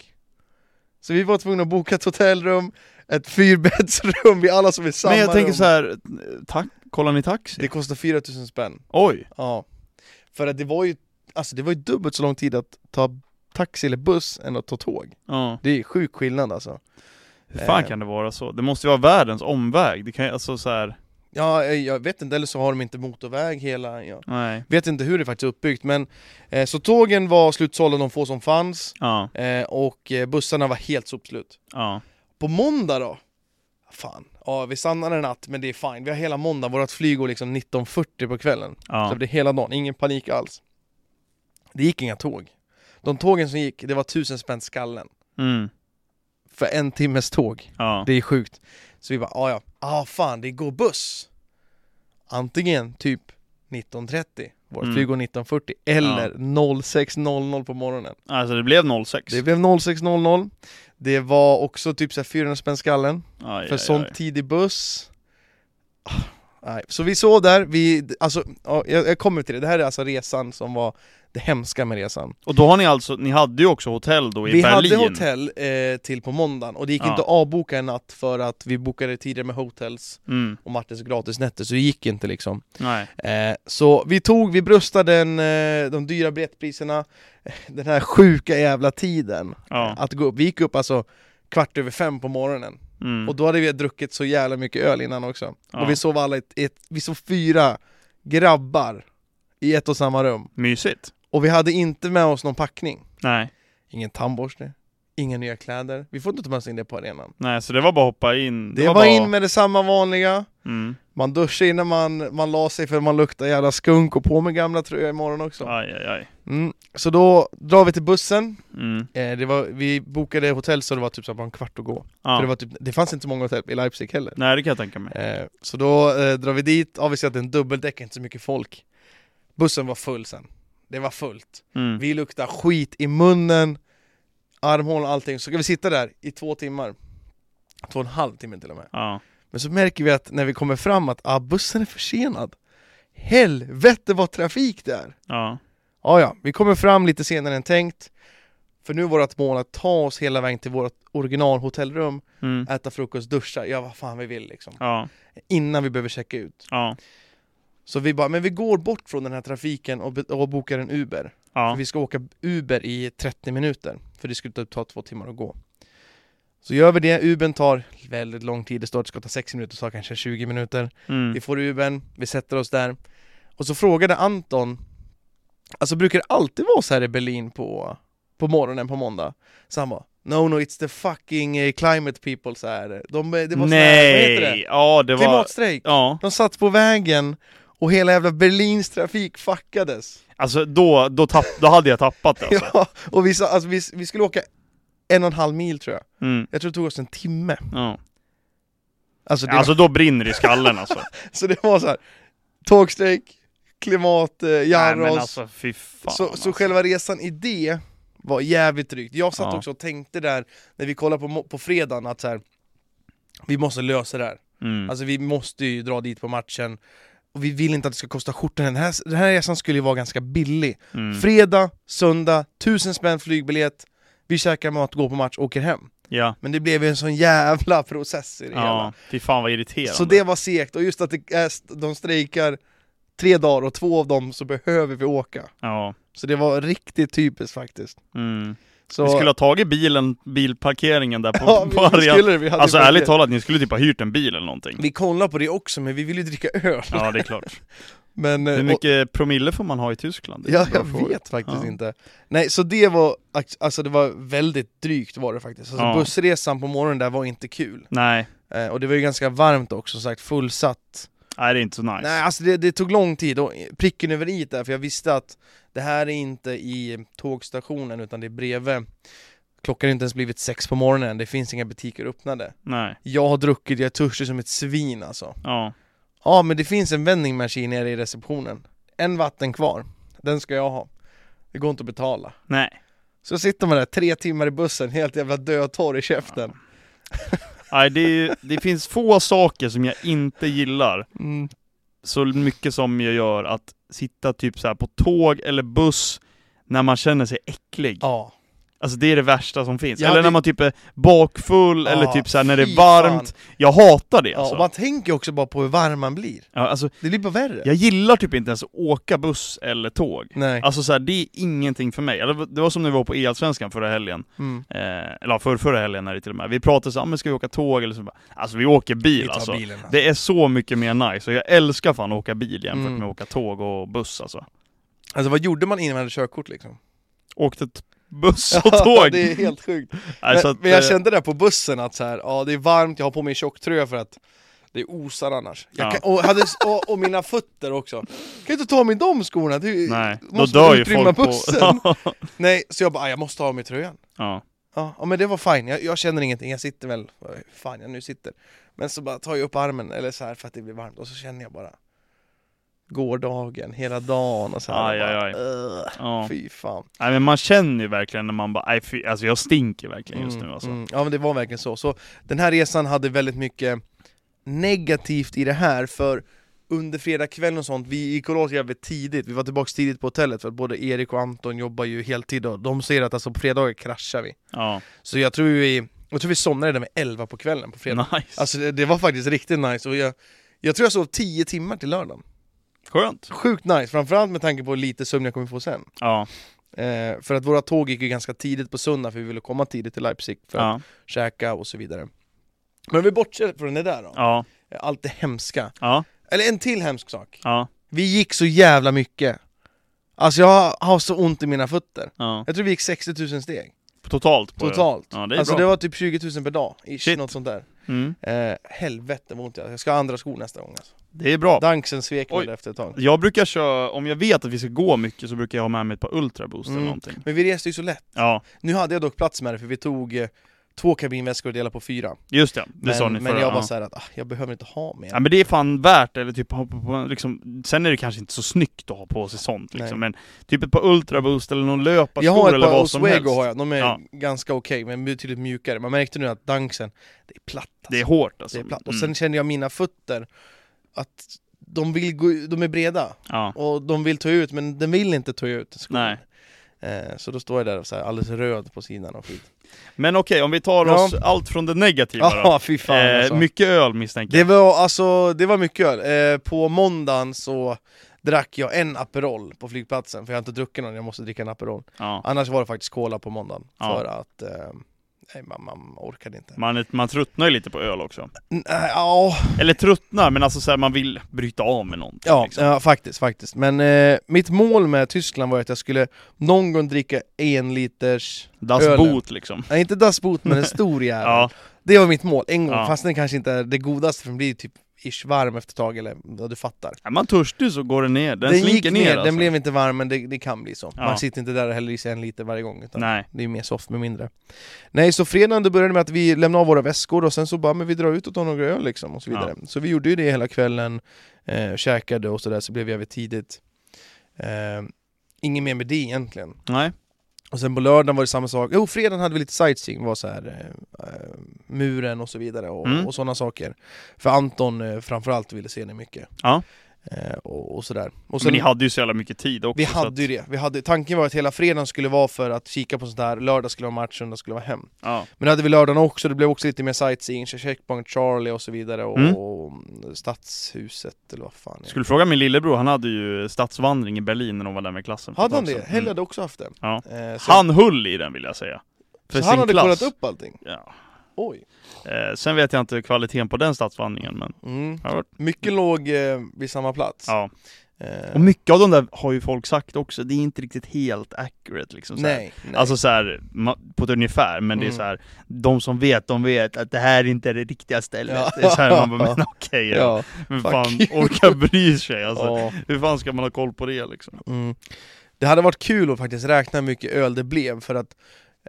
[SPEAKER 1] Så vi var tvungna att boka ett hotellrum, ett fyrbäddsrum, vi alla som är i samma
[SPEAKER 2] Men jag tänker
[SPEAKER 1] rum.
[SPEAKER 2] så här, tack, kollar ni taxi?
[SPEAKER 1] Det kostar 4000 spänn.
[SPEAKER 2] Oj!
[SPEAKER 1] Ja. För att det var ju, alltså det var ju dubbelt så lång tid att ta taxi eller buss än att ta tåg.
[SPEAKER 2] Ja.
[SPEAKER 1] Det är sjuk skillnad alltså.
[SPEAKER 2] Hur fan
[SPEAKER 1] Eh.
[SPEAKER 2] kan det vara så? Det måste ju vara världens omväg, det kan ju, alltså så här,
[SPEAKER 1] Ja, eh, jag vet inte, eller så har de inte motorväg hela, ja.
[SPEAKER 2] nej.
[SPEAKER 1] Vet inte hur det faktiskt är uppbyggt men eh, Så tågen var slutsålda de få som fanns
[SPEAKER 2] Ja,
[SPEAKER 1] eh, Och eh, bussarna var helt sopslut
[SPEAKER 2] ja,
[SPEAKER 1] På måndag då? Fan, ja vi stannar en natt men det är fine Vi har hela måndag, vårt flyg går liksom 19.40 på kvällen Så
[SPEAKER 2] ja.
[SPEAKER 1] det är hela dagen, ingen panik alls Det gick inga tåg De tågen som gick, det var tusen spänn skallen
[SPEAKER 2] Mm,
[SPEAKER 1] För en timmes tåg
[SPEAKER 2] ja.
[SPEAKER 1] det är sjukt. Så vi bara, ah, ja, ah fan det går buss. Antingen typ 19.30, Vårt
[SPEAKER 2] Mm.
[SPEAKER 1] flyg går 19.40 eller 06.00 på morgonen.
[SPEAKER 2] Alltså det blev 06.
[SPEAKER 1] Det blev 06.00. Det var också typ så här 400 spänn skallen
[SPEAKER 2] Aj,
[SPEAKER 1] för
[SPEAKER 2] aj,
[SPEAKER 1] sån
[SPEAKER 2] aj.
[SPEAKER 1] tidig buss Ah, Nej. Så vi sov där, vi, alltså, ja, jag, jag kommer till det, det här är alltså resan som var det hemska med resan
[SPEAKER 2] Och då har ni alltså, ni hade ju också hotell då i
[SPEAKER 1] Vi
[SPEAKER 2] Berlin.
[SPEAKER 1] hade hotell eh, till på måndagen och det gick
[SPEAKER 2] Ja.
[SPEAKER 1] inte att avboka en natt för att vi bokade tidigare med hotels
[SPEAKER 2] Mm,
[SPEAKER 1] och Martins gratisnätter så det gick inte liksom
[SPEAKER 2] nej.
[SPEAKER 1] eh, Så vi tog, vi bröstade den, eh, de dyra biljettpriserna eh, Den här sjuka jävla tiden
[SPEAKER 2] Ja.
[SPEAKER 1] att gå upp, vi gick upp alltså kvart över fem på morgonen
[SPEAKER 2] Mm.
[SPEAKER 1] Och då hade vi druckit så jävla mycket öl innan också.
[SPEAKER 2] Ja.
[SPEAKER 1] Och vi sov alla i ett, i ett, vi sov fyra grabbar i ett och samma rum.
[SPEAKER 2] Mysigt.
[SPEAKER 1] Och vi hade inte med oss någon packning.
[SPEAKER 2] Nej.
[SPEAKER 1] Ingen tandborste, inga nya kläder. Vi får inte ta med oss in det på arenan.
[SPEAKER 2] Nej, så det var bara att hoppa in.
[SPEAKER 1] Det, var,
[SPEAKER 2] bara...
[SPEAKER 1] in med det samma vanliga.
[SPEAKER 2] Mm.
[SPEAKER 1] Man duschade innan man, man la sig för man luktar jävla skunk och på med gamla tröja imorgon också.
[SPEAKER 2] Aj, aj, aj.
[SPEAKER 1] Mm. Så då drar vi till bussen.
[SPEAKER 2] Mm.
[SPEAKER 1] Eh, det var, vi bokade hotell så det var typ så här bara en kvart att gå.
[SPEAKER 2] Ja.
[SPEAKER 1] För det, var typ, det fanns inte många hotell i Leipzig heller.
[SPEAKER 2] Nej, det kan jag tänka mig.
[SPEAKER 1] Eh, så då eh, drar vi dit, ja vi ser att det är en dubbeldäck, inte så mycket folk Bussen var full sen, det var fullt
[SPEAKER 2] Mm.
[SPEAKER 1] Vi luktar skit i munnen, armhålan och allting, så ska vi sitta där i två timmar Två och en halv timme till och med
[SPEAKER 2] Ja.
[SPEAKER 1] Men så märker vi att när vi kommer fram att ah, bussen är försenad Helvete vad trafik det är!
[SPEAKER 2] Ja.
[SPEAKER 1] Ja, ja, vi kommer fram lite senare än tänkt För nu är vårt mål att ta oss hela vägen till vårt originalhotellrum
[SPEAKER 2] Mm.
[SPEAKER 1] Äta frukost, duscha, göra vad fan vi vill liksom
[SPEAKER 2] Ja.
[SPEAKER 1] Innan vi behöver checka ut
[SPEAKER 2] Ja.
[SPEAKER 1] Så vi bara, men vi går bort från den här trafiken och, be- och bokar en Uber. För
[SPEAKER 2] Ja.
[SPEAKER 1] vi ska åka Uber i 30 minuter, för det skulle typ ta två timmar att gå. Så gör vi det, Ubern tar väldigt lång tid, det står att det ska ta 60 minuter, det tar kanske 20 minuter.
[SPEAKER 2] Mm.
[SPEAKER 1] Vi får Ubern, vi sätter oss där. Och så frågade Anton, alltså brukar det alltid vara så här i Berlin på, på morgonen på måndag? Så han bara, no no it's the fucking eh, climate people så här. De, eh, det var så här, vad heter
[SPEAKER 2] Nej!
[SPEAKER 1] det?
[SPEAKER 2] Ja, det var...
[SPEAKER 1] Klimatstrejk!
[SPEAKER 2] Ja.
[SPEAKER 1] De satt på vägen och hela jävla Berlins trafik fuckades.
[SPEAKER 2] Alltså då, då, tapp, då hade jag tappat det alltså.
[SPEAKER 1] Ja, och vi, sa, alltså, vi, vi skulle åka en och en halv mil tror jag.
[SPEAKER 2] Mm.
[SPEAKER 1] Jag tror det tog oss en timme.
[SPEAKER 2] Ja.
[SPEAKER 1] Alltså, det,
[SPEAKER 2] Alltså då brinner det i skallen alltså.
[SPEAKER 1] Var, så det var så här. tågstrejk, klimat, eh,
[SPEAKER 2] Nej men
[SPEAKER 1] Jarros.
[SPEAKER 2] alltså fy fan.
[SPEAKER 1] så,
[SPEAKER 2] alltså.
[SPEAKER 1] så själva resan i det var jävligt drygt. Jag satt
[SPEAKER 2] Ja.
[SPEAKER 1] också och tänkte där, när vi kollade på, mo- på fredagen, att så här, vi måste lösa det här.
[SPEAKER 2] Mm.
[SPEAKER 1] Alltså vi måste ju dra dit på matchen. Och vi vill inte att det ska kosta skjortan. Den här, den här resan skulle ju vara ganska billig.
[SPEAKER 2] Mm.
[SPEAKER 1] Fredag, söndag, tusen spänn flygbiljett Vi käkar mat, går på match, åker hem
[SPEAKER 2] Ja.
[SPEAKER 1] Men det blev ju en sån jävla process i det
[SPEAKER 2] Ja. Fy fan vad irriterande.
[SPEAKER 1] hela Så det var segt, och just att det är, st- de strejkar tre dagar och två av dem så behöver vi åka
[SPEAKER 2] Ja.
[SPEAKER 1] Så det var riktigt typiskt faktiskt
[SPEAKER 2] Mm.
[SPEAKER 1] så,
[SPEAKER 2] Vi skulle ha tagit bilen, bilparkeringen där på,
[SPEAKER 1] ja,
[SPEAKER 2] på
[SPEAKER 1] vi, vi
[SPEAKER 2] arenan.
[SPEAKER 1] skulle, vi hade
[SPEAKER 2] Alltså
[SPEAKER 1] ju-
[SPEAKER 2] ärligt talat, ni skulle typ ha hyrt en bil eller någonting.
[SPEAKER 1] Vi kollade på det också, men vi ville ju dricka öl
[SPEAKER 2] Ja det är klart.
[SPEAKER 1] Men, eh,
[SPEAKER 2] Hur
[SPEAKER 1] och-
[SPEAKER 2] mycket promille får man ha i Tyskland? Det är
[SPEAKER 1] Ja,
[SPEAKER 2] en bra
[SPEAKER 1] jag
[SPEAKER 2] fråga.
[SPEAKER 1] vet faktiskt
[SPEAKER 2] Ja.
[SPEAKER 1] inte. Nej, så det var, alltså det var väldigt drygt var det faktiskt. Alltså
[SPEAKER 2] Ja.
[SPEAKER 1] bussresan på morgonen där var inte kul.
[SPEAKER 2] Nej.
[SPEAKER 1] Eh, och det var ju ganska varmt också, som sagt, fullsatt.
[SPEAKER 2] Nej det är inte så nice.
[SPEAKER 1] Nej, alltså det, det tog lång tid, och pricken över i där, för jag visste att det här är inte i tågstationen, utan det är bredvid. Klockan har inte ens blivit sex på morgonen, det finns inga butiker öppnade.
[SPEAKER 2] Nej.
[SPEAKER 1] Jag har druckit, jag är törstig som ett svin alltså.
[SPEAKER 2] Ja.
[SPEAKER 1] Ja, men det finns en vending machine nere i receptionen. En vatten kvar, den ska jag ha. Det går inte att betala.
[SPEAKER 2] Nej.
[SPEAKER 1] Så sitter man där tre timmar i bussen, helt jävla dödtorr i käften.
[SPEAKER 2] Nej det, är ju, det finns få saker som jag inte gillar
[SPEAKER 1] Mm.
[SPEAKER 2] så mycket som jag gör att sitta typ så här på tåg eller buss när man känner sig äcklig.
[SPEAKER 1] Ja.
[SPEAKER 2] Alltså det är det värsta som finns.
[SPEAKER 1] Ja,
[SPEAKER 2] eller
[SPEAKER 1] det-
[SPEAKER 2] när man typ är bakfull, eller
[SPEAKER 1] Ja,
[SPEAKER 2] typ så här när det
[SPEAKER 1] fy
[SPEAKER 2] är varmt.
[SPEAKER 1] fan.
[SPEAKER 2] Jag hatar det
[SPEAKER 1] Ja,
[SPEAKER 2] alltså.
[SPEAKER 1] och man tänker också bara på hur varm man blir.
[SPEAKER 2] Ja, alltså.
[SPEAKER 1] Det blir bara värre.
[SPEAKER 2] Jag gillar typ inte ens att åka buss eller tåg.
[SPEAKER 1] Nej.
[SPEAKER 2] Alltså så här, det är ingenting för mig. Eller, Det var som när vi var på E-allsvenskan förra helgen.
[SPEAKER 1] Mm.
[SPEAKER 2] Eh, eller ja, förra, förra helgen är det till och med. Vi pratade så här, "Ah, men ska vi åka tåg eller så? bara, Alltså vi åker bil
[SPEAKER 1] Vi tar
[SPEAKER 2] alltså.
[SPEAKER 1] bilen. alltså.
[SPEAKER 2] Det är så mycket mer nice och jag älskar fan att åka bil jämfört
[SPEAKER 1] Mm.
[SPEAKER 2] med att åka tåg och buss alltså.
[SPEAKER 1] Alltså vad gjorde man innan man hade körkort liksom?
[SPEAKER 2] Åkte t- buss och tåg!
[SPEAKER 1] det är helt sjukt.
[SPEAKER 2] Nej, så
[SPEAKER 1] men,
[SPEAKER 2] att,
[SPEAKER 1] men jag
[SPEAKER 2] eh,
[SPEAKER 1] kände det på bussen att så här, ja det är varmt, jag har på mig en tjocktröja för att det osar annars. Jag
[SPEAKER 2] Ja.
[SPEAKER 1] kan, och, hade, och, och mina fötter också. Kan jag inte ta av mig de skorna? Du,
[SPEAKER 2] Nej, då
[SPEAKER 1] måste
[SPEAKER 2] dör ju
[SPEAKER 1] utrymma
[SPEAKER 2] folk
[SPEAKER 1] bussen.
[SPEAKER 2] på...
[SPEAKER 1] Nej, så jag bara, "Ah, jag måste ta av mig tröjan.
[SPEAKER 2] ja.
[SPEAKER 1] Ja, ja men det var fine, jag, jag känner ingenting, jag sitter väl, fan jag nu sitter Men så bara tar jag upp armen, eller så här för att det blir varmt, och så känner jag bara gårdagen, hela dagen och så här.
[SPEAKER 2] Aj,
[SPEAKER 1] Och bara,
[SPEAKER 2] aj, aj.
[SPEAKER 1] "Ugh,
[SPEAKER 2] Ja.
[SPEAKER 1] Fy fan.
[SPEAKER 2] Nej, men man känner ju verkligen när man bara, nej, fy, alltså jag stinker verkligen just
[SPEAKER 1] Mm,
[SPEAKER 2] nu alltså.
[SPEAKER 1] mm. Ja men det var verkligen så. Så den här resan hade väldigt mycket negativt i det här för under fredagskvällen och sånt, vi gick och la oss jävligt tidigt, vi var tillbaka tidigt på hotellet för att både Erik och Anton jobbar ju heltid och de säger att alltså på fredagar kraschar vi.
[SPEAKER 2] Ja,
[SPEAKER 1] Så jag tror vi, jag tror vi somnade där vid 11 på kvällen på fredag.
[SPEAKER 2] nice.
[SPEAKER 1] Alltså det, det var faktiskt riktigt nice och jag, jag tror jag sov 10 timmar till lördagen.
[SPEAKER 2] Skönt.
[SPEAKER 1] Sjukt nice, framförallt med tanke på lite sömn jag kommer få sen.
[SPEAKER 2] Ja,
[SPEAKER 1] Eh, för att våra tåg gick ju ganska tidigt på söndag för vi ville komma tidigt till Leipzig för att
[SPEAKER 2] ja, käka
[SPEAKER 1] och så vidare. Men om vi bortser från det där då,
[SPEAKER 2] ja,
[SPEAKER 1] allt det hemska.
[SPEAKER 2] ja,
[SPEAKER 1] Eller en till hemsk sak.
[SPEAKER 2] ja,
[SPEAKER 1] Vi gick så jävla mycket. Alltså jag har så ont i mina fötter.
[SPEAKER 2] ja.
[SPEAKER 1] Jag tror vi gick 60 000 steg,
[SPEAKER 2] Totalt på
[SPEAKER 1] totalt.
[SPEAKER 2] Ja, det är
[SPEAKER 1] alltså
[SPEAKER 2] bra.
[SPEAKER 1] det var typ 20 000 per dag, ish,
[SPEAKER 2] Shit.
[SPEAKER 1] något sånt där.
[SPEAKER 2] det. Mm.
[SPEAKER 1] Eh, helvete vad ont jag Jag ska ha andra skor nästa gång alltså.
[SPEAKER 2] Det är bra.
[SPEAKER 1] Danksen svek mig
[SPEAKER 2] Oj.
[SPEAKER 1] där efter ett tag.
[SPEAKER 2] Jag brukar köra, om jag vet att vi ska gå mycket så brukar jag ha med mig ett par Ultra Boost
[SPEAKER 1] Mm.
[SPEAKER 2] eller någonting.
[SPEAKER 1] Men vi reste ju så lätt.
[SPEAKER 2] Ja,
[SPEAKER 1] Nu hade jag dock plats med det för vi tog eh, två kabinväskor och delade på fyra.
[SPEAKER 2] just det. Det
[SPEAKER 1] Men,
[SPEAKER 2] sa ni
[SPEAKER 1] men
[SPEAKER 2] förra,
[SPEAKER 1] jag var
[SPEAKER 2] ja.
[SPEAKER 1] så här att ah, jag behöver inte ha mer.
[SPEAKER 2] Ja men det är fan värt eller typ hoppa på en, liksom, sen är det kanske inte så snyggt att ha på sig sånt liksom, men typ ett par Ultra Boost eller någon löparskor
[SPEAKER 1] Jag har ett
[SPEAKER 2] eller
[SPEAKER 1] par
[SPEAKER 2] vad som helst.
[SPEAKER 1] Oswego har jag, de är
[SPEAKER 2] Ja.
[SPEAKER 1] ganska okej men betydligt mjukare. Man märkte nu att dansen, det är platt alltså.
[SPEAKER 2] Det är hårt alltså.
[SPEAKER 1] Det är platt. Och sen känner jag mina fötter, att de, vill gå, de är breda
[SPEAKER 2] ja.
[SPEAKER 1] och de vill ta ut men den vill inte ta ut skon.
[SPEAKER 2] Nej.
[SPEAKER 1] Eh, så då står jag där och så här, alldeles röd på sidan och skit.
[SPEAKER 2] Men okej, om vi tar
[SPEAKER 1] Ja.
[SPEAKER 2] oss allt från det negativa då.
[SPEAKER 1] Ja, fy fan alltså.
[SPEAKER 2] eh, mycket öl misstänker
[SPEAKER 1] Det
[SPEAKER 2] jag.
[SPEAKER 1] var alltså, det var mycket öl. Eh, på måndagen så drack jag en Aperol på flygplatsen, för jag har inte druckit någon, jag måste dricka en Aperol.
[SPEAKER 2] Ja.
[SPEAKER 1] Annars var det faktiskt Cola på måndagen,
[SPEAKER 2] Ja.
[SPEAKER 1] för att eh, nej, man, man orkade inte.
[SPEAKER 2] Man, är- man tröttnar ju lite på öl också.
[SPEAKER 1] N- äh, Ja,
[SPEAKER 2] Eller tröttnar, men alltså så här, man vill bryta av med någonting.
[SPEAKER 1] ja,
[SPEAKER 2] liksom.
[SPEAKER 1] ja faktiskt, faktiskt. Men eh, mitt mål med Tyskland var att jag skulle någon gång dricka en liters,
[SPEAKER 2] Das
[SPEAKER 1] ölen.
[SPEAKER 2] Boot liksom.
[SPEAKER 1] nej inte dassbot men en stor jävel.
[SPEAKER 2] Ja.
[SPEAKER 1] Det var mitt mål, en gång,
[SPEAKER 2] Ja.
[SPEAKER 1] fast den kanske inte är det godaste för den blir typ ish varm efter ett tag eller vad du fattar.
[SPEAKER 2] Är man törstig så går den ner, den, slinker ner, alltså.
[SPEAKER 1] den blev inte varm men det, det kan bli så.
[SPEAKER 2] Ja.
[SPEAKER 1] Man sitter inte där och häller i sig en liter varje gång. Utan
[SPEAKER 2] Nej.
[SPEAKER 1] Det är mer soft med mindre. Nej, så fredagen det började med att vi lämnade av våra väskor och sen så bara, men vi drar ut och tar några öl liksom och så vidare. Så vi gjorde ju det hela kvällen, eh, käkade och sådär, så blev vi jävligt tidigt. Eh, Inget mer med det egentligen.
[SPEAKER 2] Nej.
[SPEAKER 1] Och sen på lördagen var det samma sak. Jo, fredagen hade vi lite sightseeing, det var så här, eh, eh, muren och så vidare och,
[SPEAKER 2] Mm.
[SPEAKER 1] och sådana saker. För Anton eh, framförallt ville se det mycket.
[SPEAKER 2] Ja.
[SPEAKER 1] Eh, och, och sådär. Och
[SPEAKER 2] Men ni hade ju så jävla mycket tid också.
[SPEAKER 1] vi
[SPEAKER 2] så att-
[SPEAKER 1] hade ju det. Vi hade, tanken var att hela fredagen skulle vara för att kika på sånt här, lördag skulle vara match, söndag skulle vara hem.
[SPEAKER 2] Ja.
[SPEAKER 1] Men det hade vi lördagen också, det blev också lite mer sightseeing, Checkpoint Charlie och så vidare och,
[SPEAKER 2] Mm.
[SPEAKER 1] och stadshuset eller vad fan det är.
[SPEAKER 2] Skulle fråga min lillebror, han hade ju stadsvandring i Berlin när de var där med klassen. för ett
[SPEAKER 1] Hade han
[SPEAKER 2] tag
[SPEAKER 1] det?
[SPEAKER 2] sedan.
[SPEAKER 1] Helle
[SPEAKER 2] Mm.
[SPEAKER 1] hade också haft det.
[SPEAKER 2] Ja.
[SPEAKER 1] Eh, så
[SPEAKER 2] Han höll i den vill jag säga. För
[SPEAKER 1] så
[SPEAKER 2] sin
[SPEAKER 1] han hade
[SPEAKER 2] klass.
[SPEAKER 1] kollat upp allting?
[SPEAKER 2] Ja.
[SPEAKER 1] Oj.
[SPEAKER 2] Eh, sen vet jag inte kvaliteten på den stadsvandringen men
[SPEAKER 1] Mm.
[SPEAKER 2] Ja, vart-
[SPEAKER 1] Mycket låg eh, vid samma plats.
[SPEAKER 2] ja.
[SPEAKER 1] Eh,
[SPEAKER 2] Och mycket av de där har ju folk sagt också, det är inte riktigt helt accurate liksom. Så här.
[SPEAKER 1] nej, nej.
[SPEAKER 2] Alltså så här, ma- på ett ungefär, men det är
[SPEAKER 1] Mm.
[SPEAKER 2] så här, de som vet, de vet att det här inte är det riktiga stället.
[SPEAKER 1] Ja.
[SPEAKER 2] Det är så här, man bara, men okej, ja.
[SPEAKER 1] ja.
[SPEAKER 2] men
[SPEAKER 1] fuck
[SPEAKER 2] fan,
[SPEAKER 1] you.
[SPEAKER 2] orkar bry sig alltså.
[SPEAKER 1] ja.
[SPEAKER 2] Hur fan ska man ha koll på det liksom?
[SPEAKER 1] Mm. Det hade varit kul att faktiskt räkna hur mycket öl det blev för att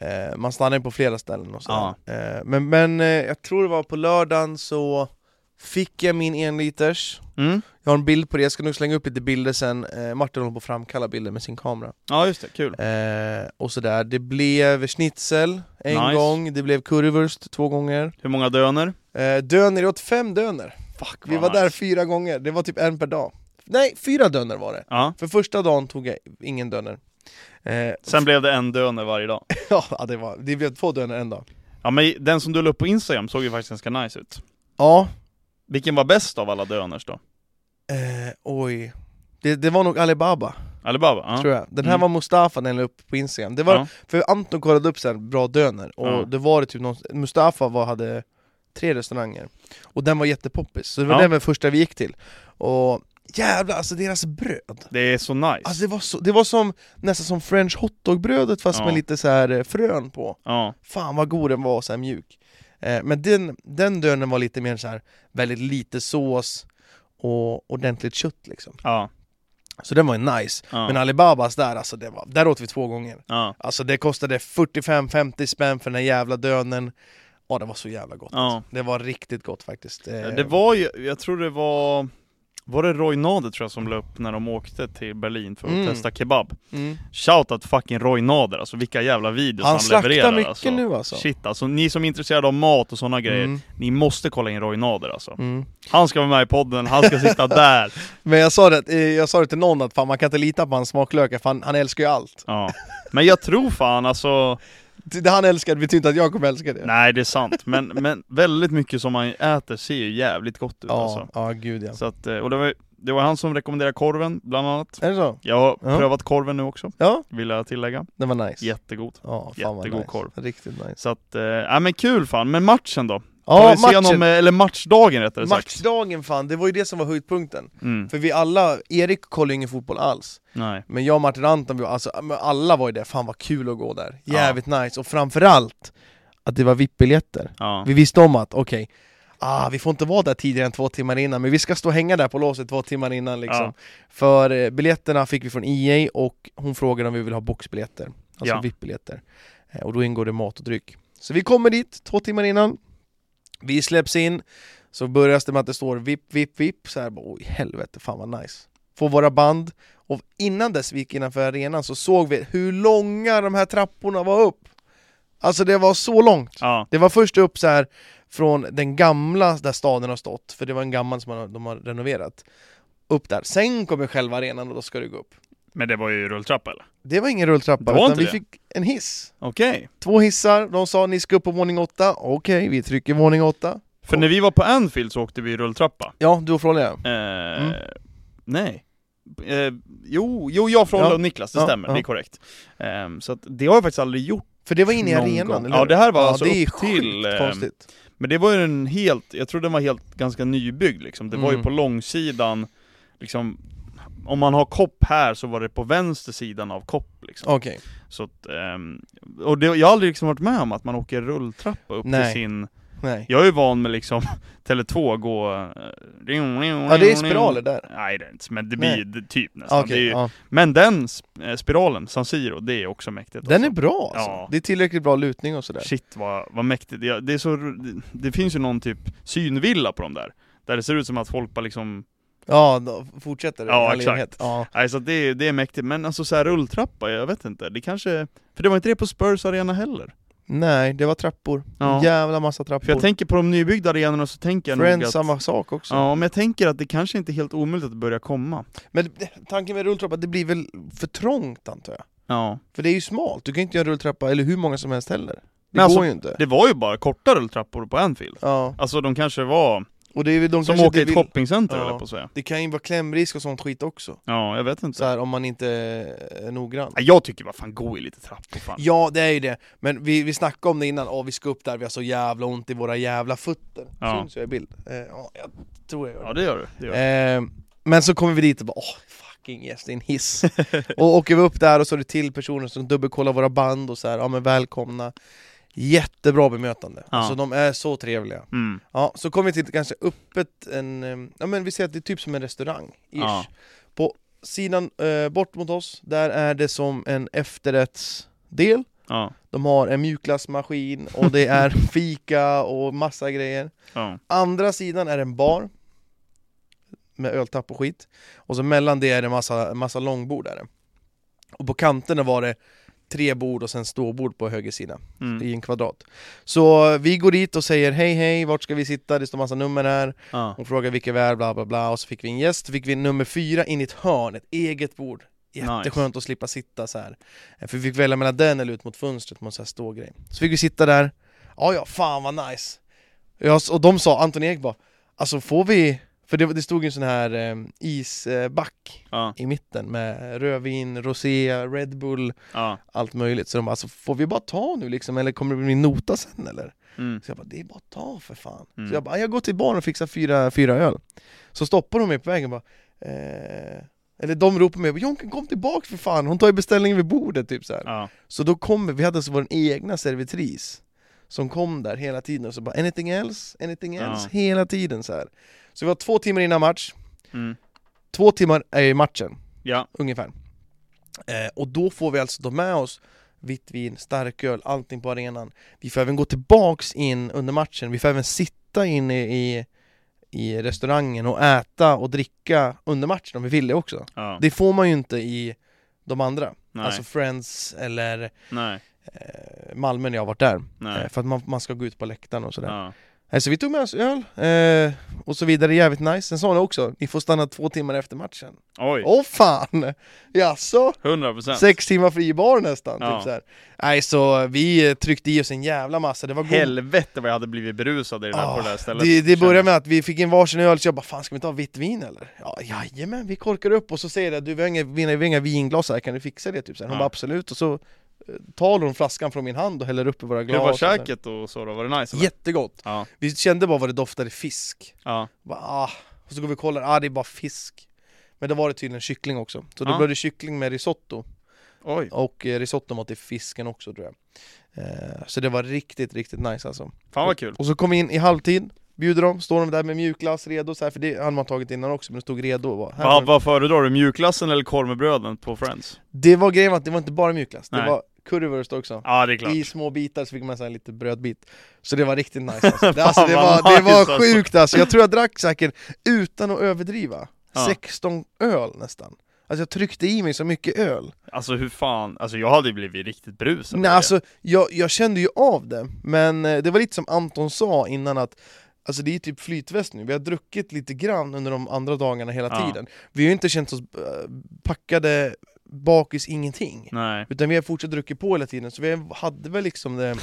[SPEAKER 1] eh, man stannade på flera ställen och så. Eh, men men eh, jag tror det var på lördagen så fick jag min enliters
[SPEAKER 2] Mm?
[SPEAKER 1] jag har en bild på det, jag ska nog slänga upp lite bilder sen, eh, Martin håller på att framkalla bilder med sin kamera
[SPEAKER 2] Ja just det, kul.
[SPEAKER 1] eh, Och sådär, det blev schnitzel en
[SPEAKER 2] Nice.
[SPEAKER 1] gång, det blev currywurst två gånger
[SPEAKER 2] Hur många döner?
[SPEAKER 1] eh, Döner, jag åt fem döner,
[SPEAKER 2] Fuck
[SPEAKER 1] vi
[SPEAKER 2] vad
[SPEAKER 1] var där
[SPEAKER 2] nice.
[SPEAKER 1] fyra gånger, det var typ en per dag Nej, fyra döner var det!
[SPEAKER 2] Ja.
[SPEAKER 1] För första dagen tog jag ingen döner eh,
[SPEAKER 2] Sen blev det en döner varje dag.
[SPEAKER 1] Ja, det, var, det blev två döner en dag.
[SPEAKER 2] Ja men den som du la upp på Instagram såg ju faktiskt ganska nice ut.
[SPEAKER 1] Ja,
[SPEAKER 2] Vilken var bäst av alla döners då?
[SPEAKER 1] eh, oj. Det, det var nog Alibaba,
[SPEAKER 2] Alibaba? Ja.
[SPEAKER 1] tror jag. Den här
[SPEAKER 2] Mm.
[SPEAKER 1] var Mustafa när jag la upp på Instagram. Det var,
[SPEAKER 2] Ja.
[SPEAKER 1] För Anton kollade upp sen bra döner, och
[SPEAKER 2] Ja.
[SPEAKER 1] det var det typ någon, Mustafa var, hade tre restauranger, och den var jättepoppis, så det var
[SPEAKER 2] Ja.
[SPEAKER 1] den var första vi gick till. Och jävlar, alltså deras bröd!
[SPEAKER 2] Det är så nice.
[SPEAKER 1] Alltså det var, så, det var som, nästan som french hotdog-brödet fast
[SPEAKER 2] Ja.
[SPEAKER 1] med lite så här eh, frön på.
[SPEAKER 2] Ja.
[SPEAKER 1] Fan vad god den var, så här mjuk. Eh, men den, den dönen var lite mer så här väldigt lite sås och ordentligt kött liksom.
[SPEAKER 2] Ja.
[SPEAKER 1] Så den var ju nice.
[SPEAKER 2] Ja.
[SPEAKER 1] Men Alibabas där, alltså det var, där åt vi två gånger.
[SPEAKER 2] ja.
[SPEAKER 1] Alltså det kostade 45-50 spänn för den här jävla dönen. Ja, det var så jävla gott.
[SPEAKER 2] ja.
[SPEAKER 1] Det var riktigt gott faktiskt. Eh,
[SPEAKER 2] Det var ju, jag tror det var Var det Roy Nader tror jag som la upp när de åkte till Berlin för att
[SPEAKER 1] Mm.
[SPEAKER 2] testa kebab?
[SPEAKER 1] Mm.
[SPEAKER 2] Shout out fucking Roy Nader, alltså vilka jävla videos han,
[SPEAKER 1] Han slaktar
[SPEAKER 2] levererar
[SPEAKER 1] mycket
[SPEAKER 2] alltså.
[SPEAKER 1] nu alltså.
[SPEAKER 2] Shit alltså, ni som är intresserade av mat och sådana grejer,
[SPEAKER 1] Mm.
[SPEAKER 2] ni måste kolla in Roy Nader alltså.
[SPEAKER 1] Mm.
[SPEAKER 2] Han ska vara med i podden, han ska sitta där.
[SPEAKER 1] Men jag sa, det, eh, jag sa det till någon att fan, man kan inte lita på hans smaklökar, för han, han älskar ju allt.
[SPEAKER 2] Ja. Men jag tror fan alltså,
[SPEAKER 1] Det han älskar betyder inte att jag kommer älska det.
[SPEAKER 2] nej det är sant, men, men väldigt mycket som man äter ser ju jävligt gott ut
[SPEAKER 1] ja,
[SPEAKER 2] alltså.
[SPEAKER 1] ja, gud ja.
[SPEAKER 2] Så att, eh, och det var, det var han som rekommenderade korven bland annat.
[SPEAKER 1] Är det så?
[SPEAKER 2] Jag har
[SPEAKER 1] Ja.
[SPEAKER 2] prövat korven nu också,
[SPEAKER 1] Ja,
[SPEAKER 2] vill jag tillägga.
[SPEAKER 1] den var nice.
[SPEAKER 2] Jättegod.
[SPEAKER 1] Ja, fan vad
[SPEAKER 2] jättegod
[SPEAKER 1] nice.
[SPEAKER 2] korv.
[SPEAKER 1] Riktigt nice.
[SPEAKER 2] Så att, eh, ja men kul fan. Men matchen då? Tar
[SPEAKER 1] Ja,
[SPEAKER 2] vi matchen.
[SPEAKER 1] matchen.
[SPEAKER 2] Igenom, eh, eller matchdagen rättare sagt.
[SPEAKER 1] Matchdagen fan, det var ju det som var höjdpunkten.
[SPEAKER 2] Mm.
[SPEAKER 1] För vi alla, Erik kollade ju ingen fotboll alls.
[SPEAKER 2] Nej.
[SPEAKER 1] Men jag och Martin Anton, vi var, alltså, men alla var ju där, fan vad kul att gå där. Jävligt nice, och framförallt att det var VIP-biljetter.
[SPEAKER 2] Ja.
[SPEAKER 1] Vi visste om att, okej, ah, vi får inte vara där tidigare än två timmar innan, men vi ska stå och hänga där på låset två timmar innan liksom.
[SPEAKER 2] Ja.
[SPEAKER 1] För eh, biljetterna fick vi från EA och hon frågade om vi vill ha boxbiljetter, alltså
[SPEAKER 2] Ja.
[SPEAKER 1] VIP-biljetter. Eh, och då ingår det mat och dryck. Så vi kommer dit två timmar innan, vi släpps in, så börjas det med att det står VIP, VIP, VIP, så här, bara, oj helvete, fan vad nice. Får våra band, och innan dess vi gick innanför arenan så såg vi hur långa de här trapporna var upp. Alltså det var så långt.
[SPEAKER 2] Ja.
[SPEAKER 1] Det var först upp så här från den gamla där staden har stått, för det var en gammal som man, har- de har renoverat. Upp där. Sen kommer själva arenan och då ska du gå upp.
[SPEAKER 2] Men det var ju rulltrappa eller?
[SPEAKER 1] Det var ingen rulltrappa,
[SPEAKER 2] Det var
[SPEAKER 1] utan
[SPEAKER 2] inte
[SPEAKER 1] vi
[SPEAKER 2] det.
[SPEAKER 1] fick en hiss.
[SPEAKER 2] Okej.
[SPEAKER 1] Två hissar, de sa ni ska upp på våning åtta. Okej, vi trycker våning åtta.
[SPEAKER 2] För när vi var på Anfield så åkte vi rulltrappa.
[SPEAKER 1] Ja, du och Frolle ja.
[SPEAKER 2] Eh,
[SPEAKER 1] Mm.
[SPEAKER 2] Nej. Eh, jo, jo, jag från
[SPEAKER 1] Ja.
[SPEAKER 2] och Niklas, det
[SPEAKER 1] Ja,
[SPEAKER 2] stämmer,
[SPEAKER 1] ja.
[SPEAKER 2] det är korrekt. Ehm, så att det har jag faktiskt aldrig gjort
[SPEAKER 1] För det var inne i
[SPEAKER 2] någon
[SPEAKER 1] arenan,
[SPEAKER 2] gång.
[SPEAKER 1] eller
[SPEAKER 2] Ja,
[SPEAKER 1] hur?
[SPEAKER 2] det här var
[SPEAKER 1] ja,
[SPEAKER 2] alltså
[SPEAKER 1] det är
[SPEAKER 2] upp till...
[SPEAKER 1] sjukt
[SPEAKER 2] ehm,
[SPEAKER 1] konstigt.
[SPEAKER 2] Men det var ju en helt, jag tror den var helt ganska nybyggd liksom. Det var ju
[SPEAKER 1] Mm.
[SPEAKER 2] på långsidan, liksom om man har kopp här så var det på vänster sidan av kopp liksom.
[SPEAKER 1] Okej.
[SPEAKER 2] Så att, ehm, och det, jag har aldrig liksom varit med om att man åker rulltrappa upp
[SPEAKER 1] Nej.
[SPEAKER 2] till sin
[SPEAKER 1] Nej.
[SPEAKER 2] Jag är ju van med liksom Tele2 gå... eh, Ja
[SPEAKER 1] Ja, det är spiraler där.
[SPEAKER 2] Nej det är inte, men det
[SPEAKER 1] Nej.
[SPEAKER 2] blir det typ nästan.
[SPEAKER 1] Okej,
[SPEAKER 2] det är ju,
[SPEAKER 1] ja.
[SPEAKER 2] Men den sp- eh, spiralen, San Siro, det är också mäktigt
[SPEAKER 1] Den är
[SPEAKER 2] alltså.
[SPEAKER 1] bra alltså.
[SPEAKER 2] Ja.
[SPEAKER 1] Det är tillräckligt bra lutning och sådär.
[SPEAKER 2] Shit vad, vad mäktigt, det, det är så... Det, det finns ju någon typ synvilla på de där. Där det ser ut som att folk bara liksom...
[SPEAKER 1] Ja, då fortsätter det.
[SPEAKER 2] Ja,
[SPEAKER 1] i all
[SPEAKER 2] exakt.
[SPEAKER 1] evighet. Ja.
[SPEAKER 2] Nej så att det, är- det är mäktigt, men alltså så här rulltrappa, jag vet inte. Det kanske... För det var inte det på Spurs arena heller.
[SPEAKER 1] Nej, det var trappor.
[SPEAKER 2] Ja.
[SPEAKER 1] Jävla massa trappor.
[SPEAKER 2] För jag tänker på de nybyggda arenorna så tänker jag nog
[SPEAKER 1] Friends,
[SPEAKER 2] att...
[SPEAKER 1] samma sak också.
[SPEAKER 2] Ja, men jag tänker att det kanske inte är helt omöjligt att börja komma.
[SPEAKER 1] Men det- tanken med rulltrappa, det blir väl för trångt antar jag?
[SPEAKER 2] Ja.
[SPEAKER 1] För det är ju smalt, du kan inte göra rulltrappa eller hur många som helst heller. Det
[SPEAKER 2] Men alltså-
[SPEAKER 1] går ju inte.
[SPEAKER 2] Det var ju bara korta rulltrappor på Anfield.
[SPEAKER 1] Ja,
[SPEAKER 2] Alltså de kanske var,
[SPEAKER 1] och det är väl de
[SPEAKER 2] som
[SPEAKER 1] kanske
[SPEAKER 2] åker i
[SPEAKER 1] inte
[SPEAKER 2] ett
[SPEAKER 1] vill...
[SPEAKER 2] shoppingcenter
[SPEAKER 1] Ja.
[SPEAKER 2] eller på att säga.
[SPEAKER 1] Det kan ju vara klämrisk och sånt skit också.
[SPEAKER 2] Ja, jag vet inte.
[SPEAKER 1] Så här, om man inte är noggrann.
[SPEAKER 2] Nej, Jag tycker vad fan gå i lite trappor fan.
[SPEAKER 1] Ja, det är ju det. Men vi, vi snackade om det innan, åh vi ska upp där, vi har så jävla ont i våra jävla fötter.
[SPEAKER 2] Ja.
[SPEAKER 1] Syns jag i bild? Eh, ja, jag tror jag gör det.
[SPEAKER 2] Ja det gör du. Det gör du.
[SPEAKER 1] Eh, men så kommer vi dit och bara åh, fucking yes, det är en hiss. och åker vi upp där och så är det till personer som dubbelkollar våra band och så här, ja men välkomna. Jättebra bemötande,
[SPEAKER 2] Ja.
[SPEAKER 1] alltså de är så trevliga.
[SPEAKER 2] Mm.
[SPEAKER 1] Ja, så kommer vi till kanske öppet, en, eh, ja men vi ser att det är typ som en restaurang, ish.
[SPEAKER 2] Ja.
[SPEAKER 1] På sidan eh, bort mot oss, där är det som en efterrättsdel.
[SPEAKER 2] Ja.
[SPEAKER 1] De har en mjukglassmaskin och det är fika och massa grejer.
[SPEAKER 2] Ja.
[SPEAKER 1] Andra sidan är en bar med öltapp och skit och så mellan det är det massa, massa långbord där. Och på kanterna var det tre bord och sen ståbord på höger sida
[SPEAKER 2] Mm.
[SPEAKER 1] i en kvadrat. Så vi går dit och säger hej hej, vart ska vi sitta? Det står massa nummer här.
[SPEAKER 2] Ja.
[SPEAKER 1] Hon frågar vilka vi är, bla bla bla och så fick vi en gäst, fick vi nummer fyra in i ett hörn, ett eget bord. Jätteskönt att slippa sitta så här. Eh, För vi fick välja mellan den eller ut mot fönstret på en sån här stor grej. Så fick vi sitta där, ja ja, fan vad nice! Ja, och de sa, Anton Ek bara, alltså får vi, för det, det stod ju en sån här eh, isback
[SPEAKER 2] Ja.
[SPEAKER 1] i mitten med rödvin, rosé, Red Bull,
[SPEAKER 2] Ja.
[SPEAKER 1] allt möjligt. Så de bara, alltså får vi bara ta nu liksom, eller kommer det bli nota sen eller?
[SPEAKER 2] Mm.
[SPEAKER 1] Så jag bara, det är bara att ta för fan.
[SPEAKER 2] Mm.
[SPEAKER 1] Så jag bara, jag går till barn och fixar fyra, fyra öl. Så stoppar de mig på vägen bara, eh... eller de ropar mig, Jonken kom tillbaka för fan, hon tar ju beställningen vid bordet typ så här.
[SPEAKER 2] Ja.
[SPEAKER 1] Så då kommer, vi hade alltså vår egna servitris som kom där hela tiden och så bara anything else, anything
[SPEAKER 2] Ja.
[SPEAKER 1] else, hela tiden så här. Så vi var två timmar innan match,
[SPEAKER 2] Mm.
[SPEAKER 1] två timmar är ju matchen
[SPEAKER 2] Ja.
[SPEAKER 1] ungefär. Eh, och då får vi alltså ta med oss vitt vin, starköl, allting på arenan. Vi får även gå tillbaks in under matchen, vi får även sitta in i, i, i restaurangen och äta och dricka under matchen om vi ville också.
[SPEAKER 2] Ja.
[SPEAKER 1] Det får man ju inte i de andra,
[SPEAKER 2] nej,
[SPEAKER 1] alltså Friends eller
[SPEAKER 2] nej,
[SPEAKER 1] eh, Malmö när jag har varit där. Eh,
[SPEAKER 2] nej.
[SPEAKER 1] för att man, man ska gå ut på läktaren och sådär.
[SPEAKER 2] Ja.
[SPEAKER 1] Eh, Så vi tog med oss öl eh, och så vidare, jävligt nice. Sen sa han också, ni får stanna två timmar efter matchen.
[SPEAKER 2] Oj,
[SPEAKER 1] Åh fan! Jaså?
[SPEAKER 2] 100 procent.
[SPEAKER 1] Sex timmar fri bar nästan,
[SPEAKER 2] Ja.
[SPEAKER 1] typ så här. Nej, så vi eh, tryckte i oss en jävla massa, det var god...
[SPEAKER 2] Helvete vad jag hade blivit berusad i det där, på det där stället.
[SPEAKER 1] Ah, Det, det började
[SPEAKER 2] Känner-
[SPEAKER 1] med att vi fick in varsin öl, så jag bara 'Fan ska vi inte ha vitt vin eller?' Ja, jajamän, vi korkar upp och så säger jag 'Du, vi har inga, vi har inga vinglas här, kan du fixa det?' Typ så här. Hon
[SPEAKER 2] Ja.
[SPEAKER 1] bara 'Absolut' och så eh, tar hon flaskan från min hand och häller upp i våra glas
[SPEAKER 2] Hur var
[SPEAKER 1] och så här.
[SPEAKER 2] käket och så då? Var det nice? eller?
[SPEAKER 1] Jättegott!
[SPEAKER 2] Ja.
[SPEAKER 1] Vi kände bara vad det doftade fisk
[SPEAKER 2] ja.
[SPEAKER 1] Bara, ah. Och så går vi och kollar, ah det är bara fisk Men då var det tydligen kyckling också, så då
[SPEAKER 2] Ja.
[SPEAKER 1] blev det kyckling med risotto
[SPEAKER 2] Oj.
[SPEAKER 1] Och eh, risotton var till fisken också tror jag eh, Så det var riktigt, riktigt nice alltså
[SPEAKER 2] Fan vad kul.
[SPEAKER 1] Och så kom vi in i halvtid, bjuder dem, står de där med mjukglass redo så här, för det hade man tagit innan också men det stod redo och bara, här har
[SPEAKER 2] Vad
[SPEAKER 1] du-
[SPEAKER 2] vad föredrar du, mjukglassen eller korv med bröden på Friends?
[SPEAKER 1] Det var grejen att det var inte bara mjukglass, det
[SPEAKER 2] Nej.
[SPEAKER 1] var currywurst också
[SPEAKER 2] Ja det är klart.
[SPEAKER 1] I små bitar så fick man så här lite brödbit Så det var riktigt nice alltså. det,
[SPEAKER 2] Fan,
[SPEAKER 1] alltså, det,
[SPEAKER 2] vad
[SPEAKER 1] var, det
[SPEAKER 2] nice,
[SPEAKER 1] var
[SPEAKER 2] alltså.
[SPEAKER 1] sjukt alltså, jag tror jag drack säkert, utan att överdriva,
[SPEAKER 2] Ja.
[SPEAKER 1] 16 öl nästan Alltså jag tryckte i mig så mycket öl
[SPEAKER 2] Alltså hur fan, alltså jag hade ju blivit riktigt brusad.
[SPEAKER 1] Nej alltså, jag, jag kände ju av det, men eh, det var lite som Anton sa innan att Alltså det är typ flytväst nu, vi har druckit lite grann under de andra dagarna hela
[SPEAKER 2] Ja.
[SPEAKER 1] tiden Vi har ju inte känt oss eh, packade bakis ingenting
[SPEAKER 2] Nej.
[SPEAKER 1] Utan vi har fortsatt druckit på hela tiden, så vi hade väl liksom det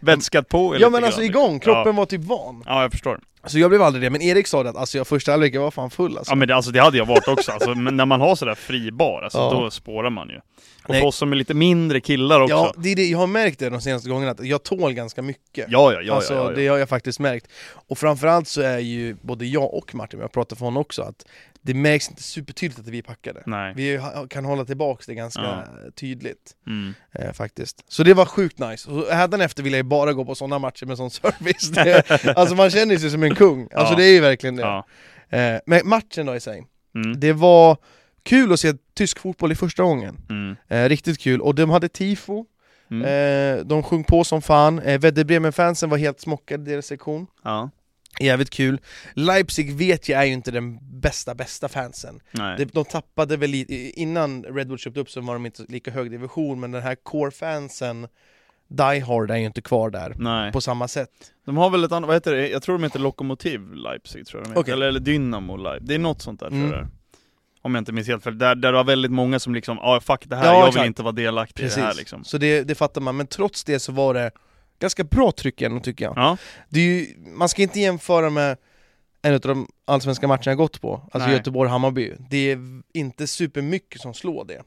[SPEAKER 2] Vätskat på
[SPEAKER 1] Ja
[SPEAKER 2] lite
[SPEAKER 1] men alltså
[SPEAKER 2] grann.
[SPEAKER 1] igång, kroppen var typ van
[SPEAKER 2] Ja jag förstår.
[SPEAKER 1] Så jag blev aldrig det, men Erik sa det att alltså, jag första halvlek, jag var fan full alltså.
[SPEAKER 2] Ja men det, alltså, det hade jag varit också, alltså, men när man har sådär fri bar, alltså,
[SPEAKER 1] Ja.
[SPEAKER 2] då spårar man ju. Och
[SPEAKER 1] Nej.
[SPEAKER 2] för oss som är lite mindre killar också.
[SPEAKER 1] Ja,
[SPEAKER 2] Ja,
[SPEAKER 1] det är det, jag har märkt det de senaste gångerna, att jag tål ganska mycket.
[SPEAKER 2] ja, ja. ja,
[SPEAKER 1] alltså,
[SPEAKER 2] ja, ja.
[SPEAKER 1] Det har jag faktiskt märkt. Och framförallt så är ju både jag och Martin, jag pratar för honom också, att det märks inte supertydligt att vi är packade.
[SPEAKER 2] Nej.
[SPEAKER 1] Vi ha- kan hålla tillbaka det ganska
[SPEAKER 2] Ja.
[SPEAKER 1] tydligt
[SPEAKER 2] Mm.
[SPEAKER 1] eh, faktiskt. Så det var sjukt nice. Och hädanefter vill jag ju bara gå på sådana matcher med sån service. Det, alltså man känner sig som en kung. Alltså
[SPEAKER 2] Ja.
[SPEAKER 1] det är ju verkligen det.
[SPEAKER 2] Ja.
[SPEAKER 1] Eh, men matchen då i sig,
[SPEAKER 2] Mm.
[SPEAKER 1] det var kul att se tysk fotboll i första gången.
[SPEAKER 2] Mm.
[SPEAKER 1] Eh, riktigt kul, och de hade tifo,
[SPEAKER 2] Mm.
[SPEAKER 1] eh, de sjöng på som fan, eh, Werder Bremen-fansen var helt smockade i deras sektion
[SPEAKER 2] Ja.
[SPEAKER 1] Jävligt kul. Leipzig vet jag är ju inte den bästa, bästa fansen.
[SPEAKER 2] Nej.
[SPEAKER 1] De, de tappade väl lite, innan Red Bull köpte upp så var de inte lika hög division, men den här core-fansen, Die Hard, är ju inte kvar där
[SPEAKER 2] Nej.
[SPEAKER 1] på samma sätt.
[SPEAKER 2] De har väl ett annat, vad heter det? Jag tror de heter Lokomotiv Leipzig tror jag de heter.
[SPEAKER 1] Okej.
[SPEAKER 2] Eller, eller Dynamo Leipzig, det är något sånt där
[SPEAKER 1] Mm.
[SPEAKER 2] tror jag det är. Om jag inte minns helt fel, där, där var väldigt många som liksom ah, 'fuck det här,
[SPEAKER 1] Ja,
[SPEAKER 2] jag
[SPEAKER 1] exakt.
[SPEAKER 2] vill inte vara delaktig i det här' liksom
[SPEAKER 1] Så det, det fattar man, men trots det så var det ganska bra tryck ändå tycker jag.
[SPEAKER 2] Ja,
[SPEAKER 1] det är ju, man ska inte jämföra med en av de allsvenska matcherna jag gått på, alltså
[SPEAKER 2] Nej.
[SPEAKER 1] Göteborg-Hammarby. Det är v- inte supermycket som slår det.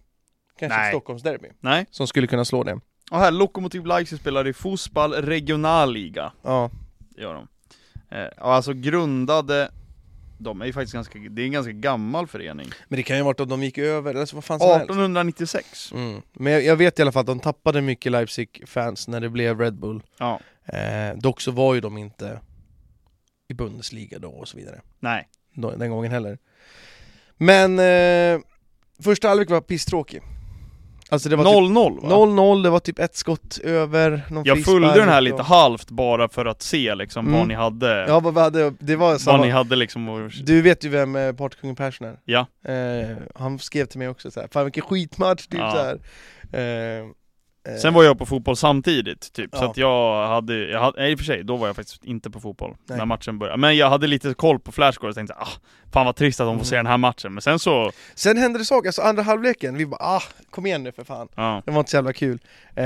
[SPEAKER 1] Kanske
[SPEAKER 2] Nej.
[SPEAKER 1] ett Stockholmsderby
[SPEAKER 2] nej.
[SPEAKER 1] som skulle kunna slå det.
[SPEAKER 2] Och här, Lokomotiv Leipzig spelar i Fotboll Regionalliga,
[SPEAKER 1] Ja,
[SPEAKER 2] gör de. Eh, och alltså grundade, de är ju faktiskt ganska, det är en ganska gammal förening.
[SPEAKER 1] men det kan ju ha varit att de gick över, eller så vad fan som helst.
[SPEAKER 2] 1896.
[SPEAKER 1] Mm. Men jag, jag vet i alla fall att de tappade mycket Leipzig-fans när det blev Red Bull.
[SPEAKER 2] Ja,
[SPEAKER 1] Eh, dock så var ju de inte i Bundesliga då och så vidare.
[SPEAKER 2] nej.
[SPEAKER 1] Då- Den gången heller. Men eh, första halvlek var pisstråkig. Alltså det var typ
[SPEAKER 2] 0-0 va?
[SPEAKER 1] 0-0, det var typ ett skott över, någon
[SPEAKER 2] Jag
[SPEAKER 1] frispark
[SPEAKER 2] följde den här
[SPEAKER 1] och-
[SPEAKER 2] lite halvt bara för att se liksom
[SPEAKER 1] Mm.
[SPEAKER 2] vad ni hade,
[SPEAKER 1] Ja, vad vi hade, det var
[SPEAKER 2] vad ni
[SPEAKER 1] samma...
[SPEAKER 2] hade liksom och,
[SPEAKER 1] Du vet ju vem eh, partykungen Persson är?
[SPEAKER 2] Ja.
[SPEAKER 1] Eh, han skrev till mig också så här, fan vilken skitmatch, typ
[SPEAKER 2] Ja.
[SPEAKER 1] så här. Eh, eh,
[SPEAKER 2] Sen var jag på fotboll samtidigt, typ, så
[SPEAKER 1] Ja.
[SPEAKER 2] att jag hade, jag hade, nej i och för sig, då var jag faktiskt inte på fotboll
[SPEAKER 1] Nej.
[SPEAKER 2] när matchen började. Men jag hade lite koll på flashscore och tänkte ah, fan vad trist att de får
[SPEAKER 1] Mm.
[SPEAKER 2] se den här matchen. Men sen så,
[SPEAKER 1] Sen hände det saker, alltså andra halvleken, vi bara ah, kom igen nu för fan.
[SPEAKER 2] ja,
[SPEAKER 1] Det var inte så jävla kul. Eh,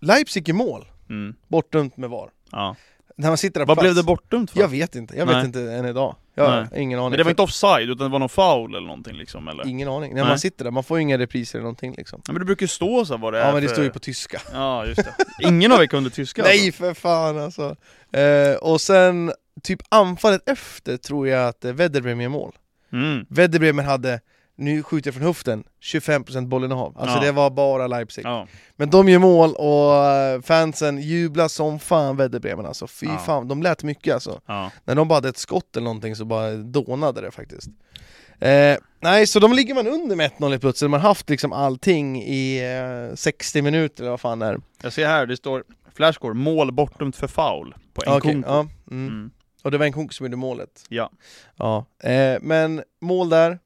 [SPEAKER 1] Leipzig i mål,
[SPEAKER 2] mm,
[SPEAKER 1] bortdömt med VAR.
[SPEAKER 2] ja.
[SPEAKER 1] När man sitter där på
[SPEAKER 2] Vad blev
[SPEAKER 1] plats,
[SPEAKER 2] det bortdömt för?
[SPEAKER 1] Jag vet inte, jag vet
[SPEAKER 2] Nej.
[SPEAKER 1] inte än idag. Jag har ingen aning.
[SPEAKER 2] men det var inte offside, utan det var någon foul eller någonting liksom eller?
[SPEAKER 1] Ingen aning, när
[SPEAKER 2] Nej.
[SPEAKER 1] man sitter där, man får ju inga repriser eller någonting liksom.
[SPEAKER 2] Ja, men det brukar ju stå så här vad det är
[SPEAKER 1] Ja men det
[SPEAKER 2] för-
[SPEAKER 1] står ju på tyska.
[SPEAKER 2] Ja just det. Ingen av er kunde tyska
[SPEAKER 1] Nej för fan alltså! Eh, och sen, typ anfallet efter tror jag att eh, Wedderbremen gör mål.
[SPEAKER 2] alltså? Mm.
[SPEAKER 1] Wedderbremen hade, nu skjuter jag från höften, 25% bollinnehav. Alltså
[SPEAKER 2] Ja.
[SPEAKER 1] det var bara Leipzig.
[SPEAKER 2] Ja.
[SPEAKER 1] Men de gör mål och eh, fansen jublar som fan Wedderbremen alltså. Fy
[SPEAKER 2] Ja.
[SPEAKER 1] fan, de lät mycket alltså.
[SPEAKER 2] ja.
[SPEAKER 1] När de bara hade ett skott eller någonting så bara dånade det faktiskt. Eh, nej, så de ligger man under med 1-0 helt plötsligt. Man har haft liksom allting i eh, 60 minuter eller vad fan det är.
[SPEAKER 2] Jag ser här, det står flashscore, mål bortdömt för foul på en
[SPEAKER 1] Okej,
[SPEAKER 2] konto.
[SPEAKER 1] ja, mm.
[SPEAKER 2] Mm.
[SPEAKER 1] Och det var en kunk som gjorde målet.
[SPEAKER 2] Ja.
[SPEAKER 1] ja. Eh, men mål där,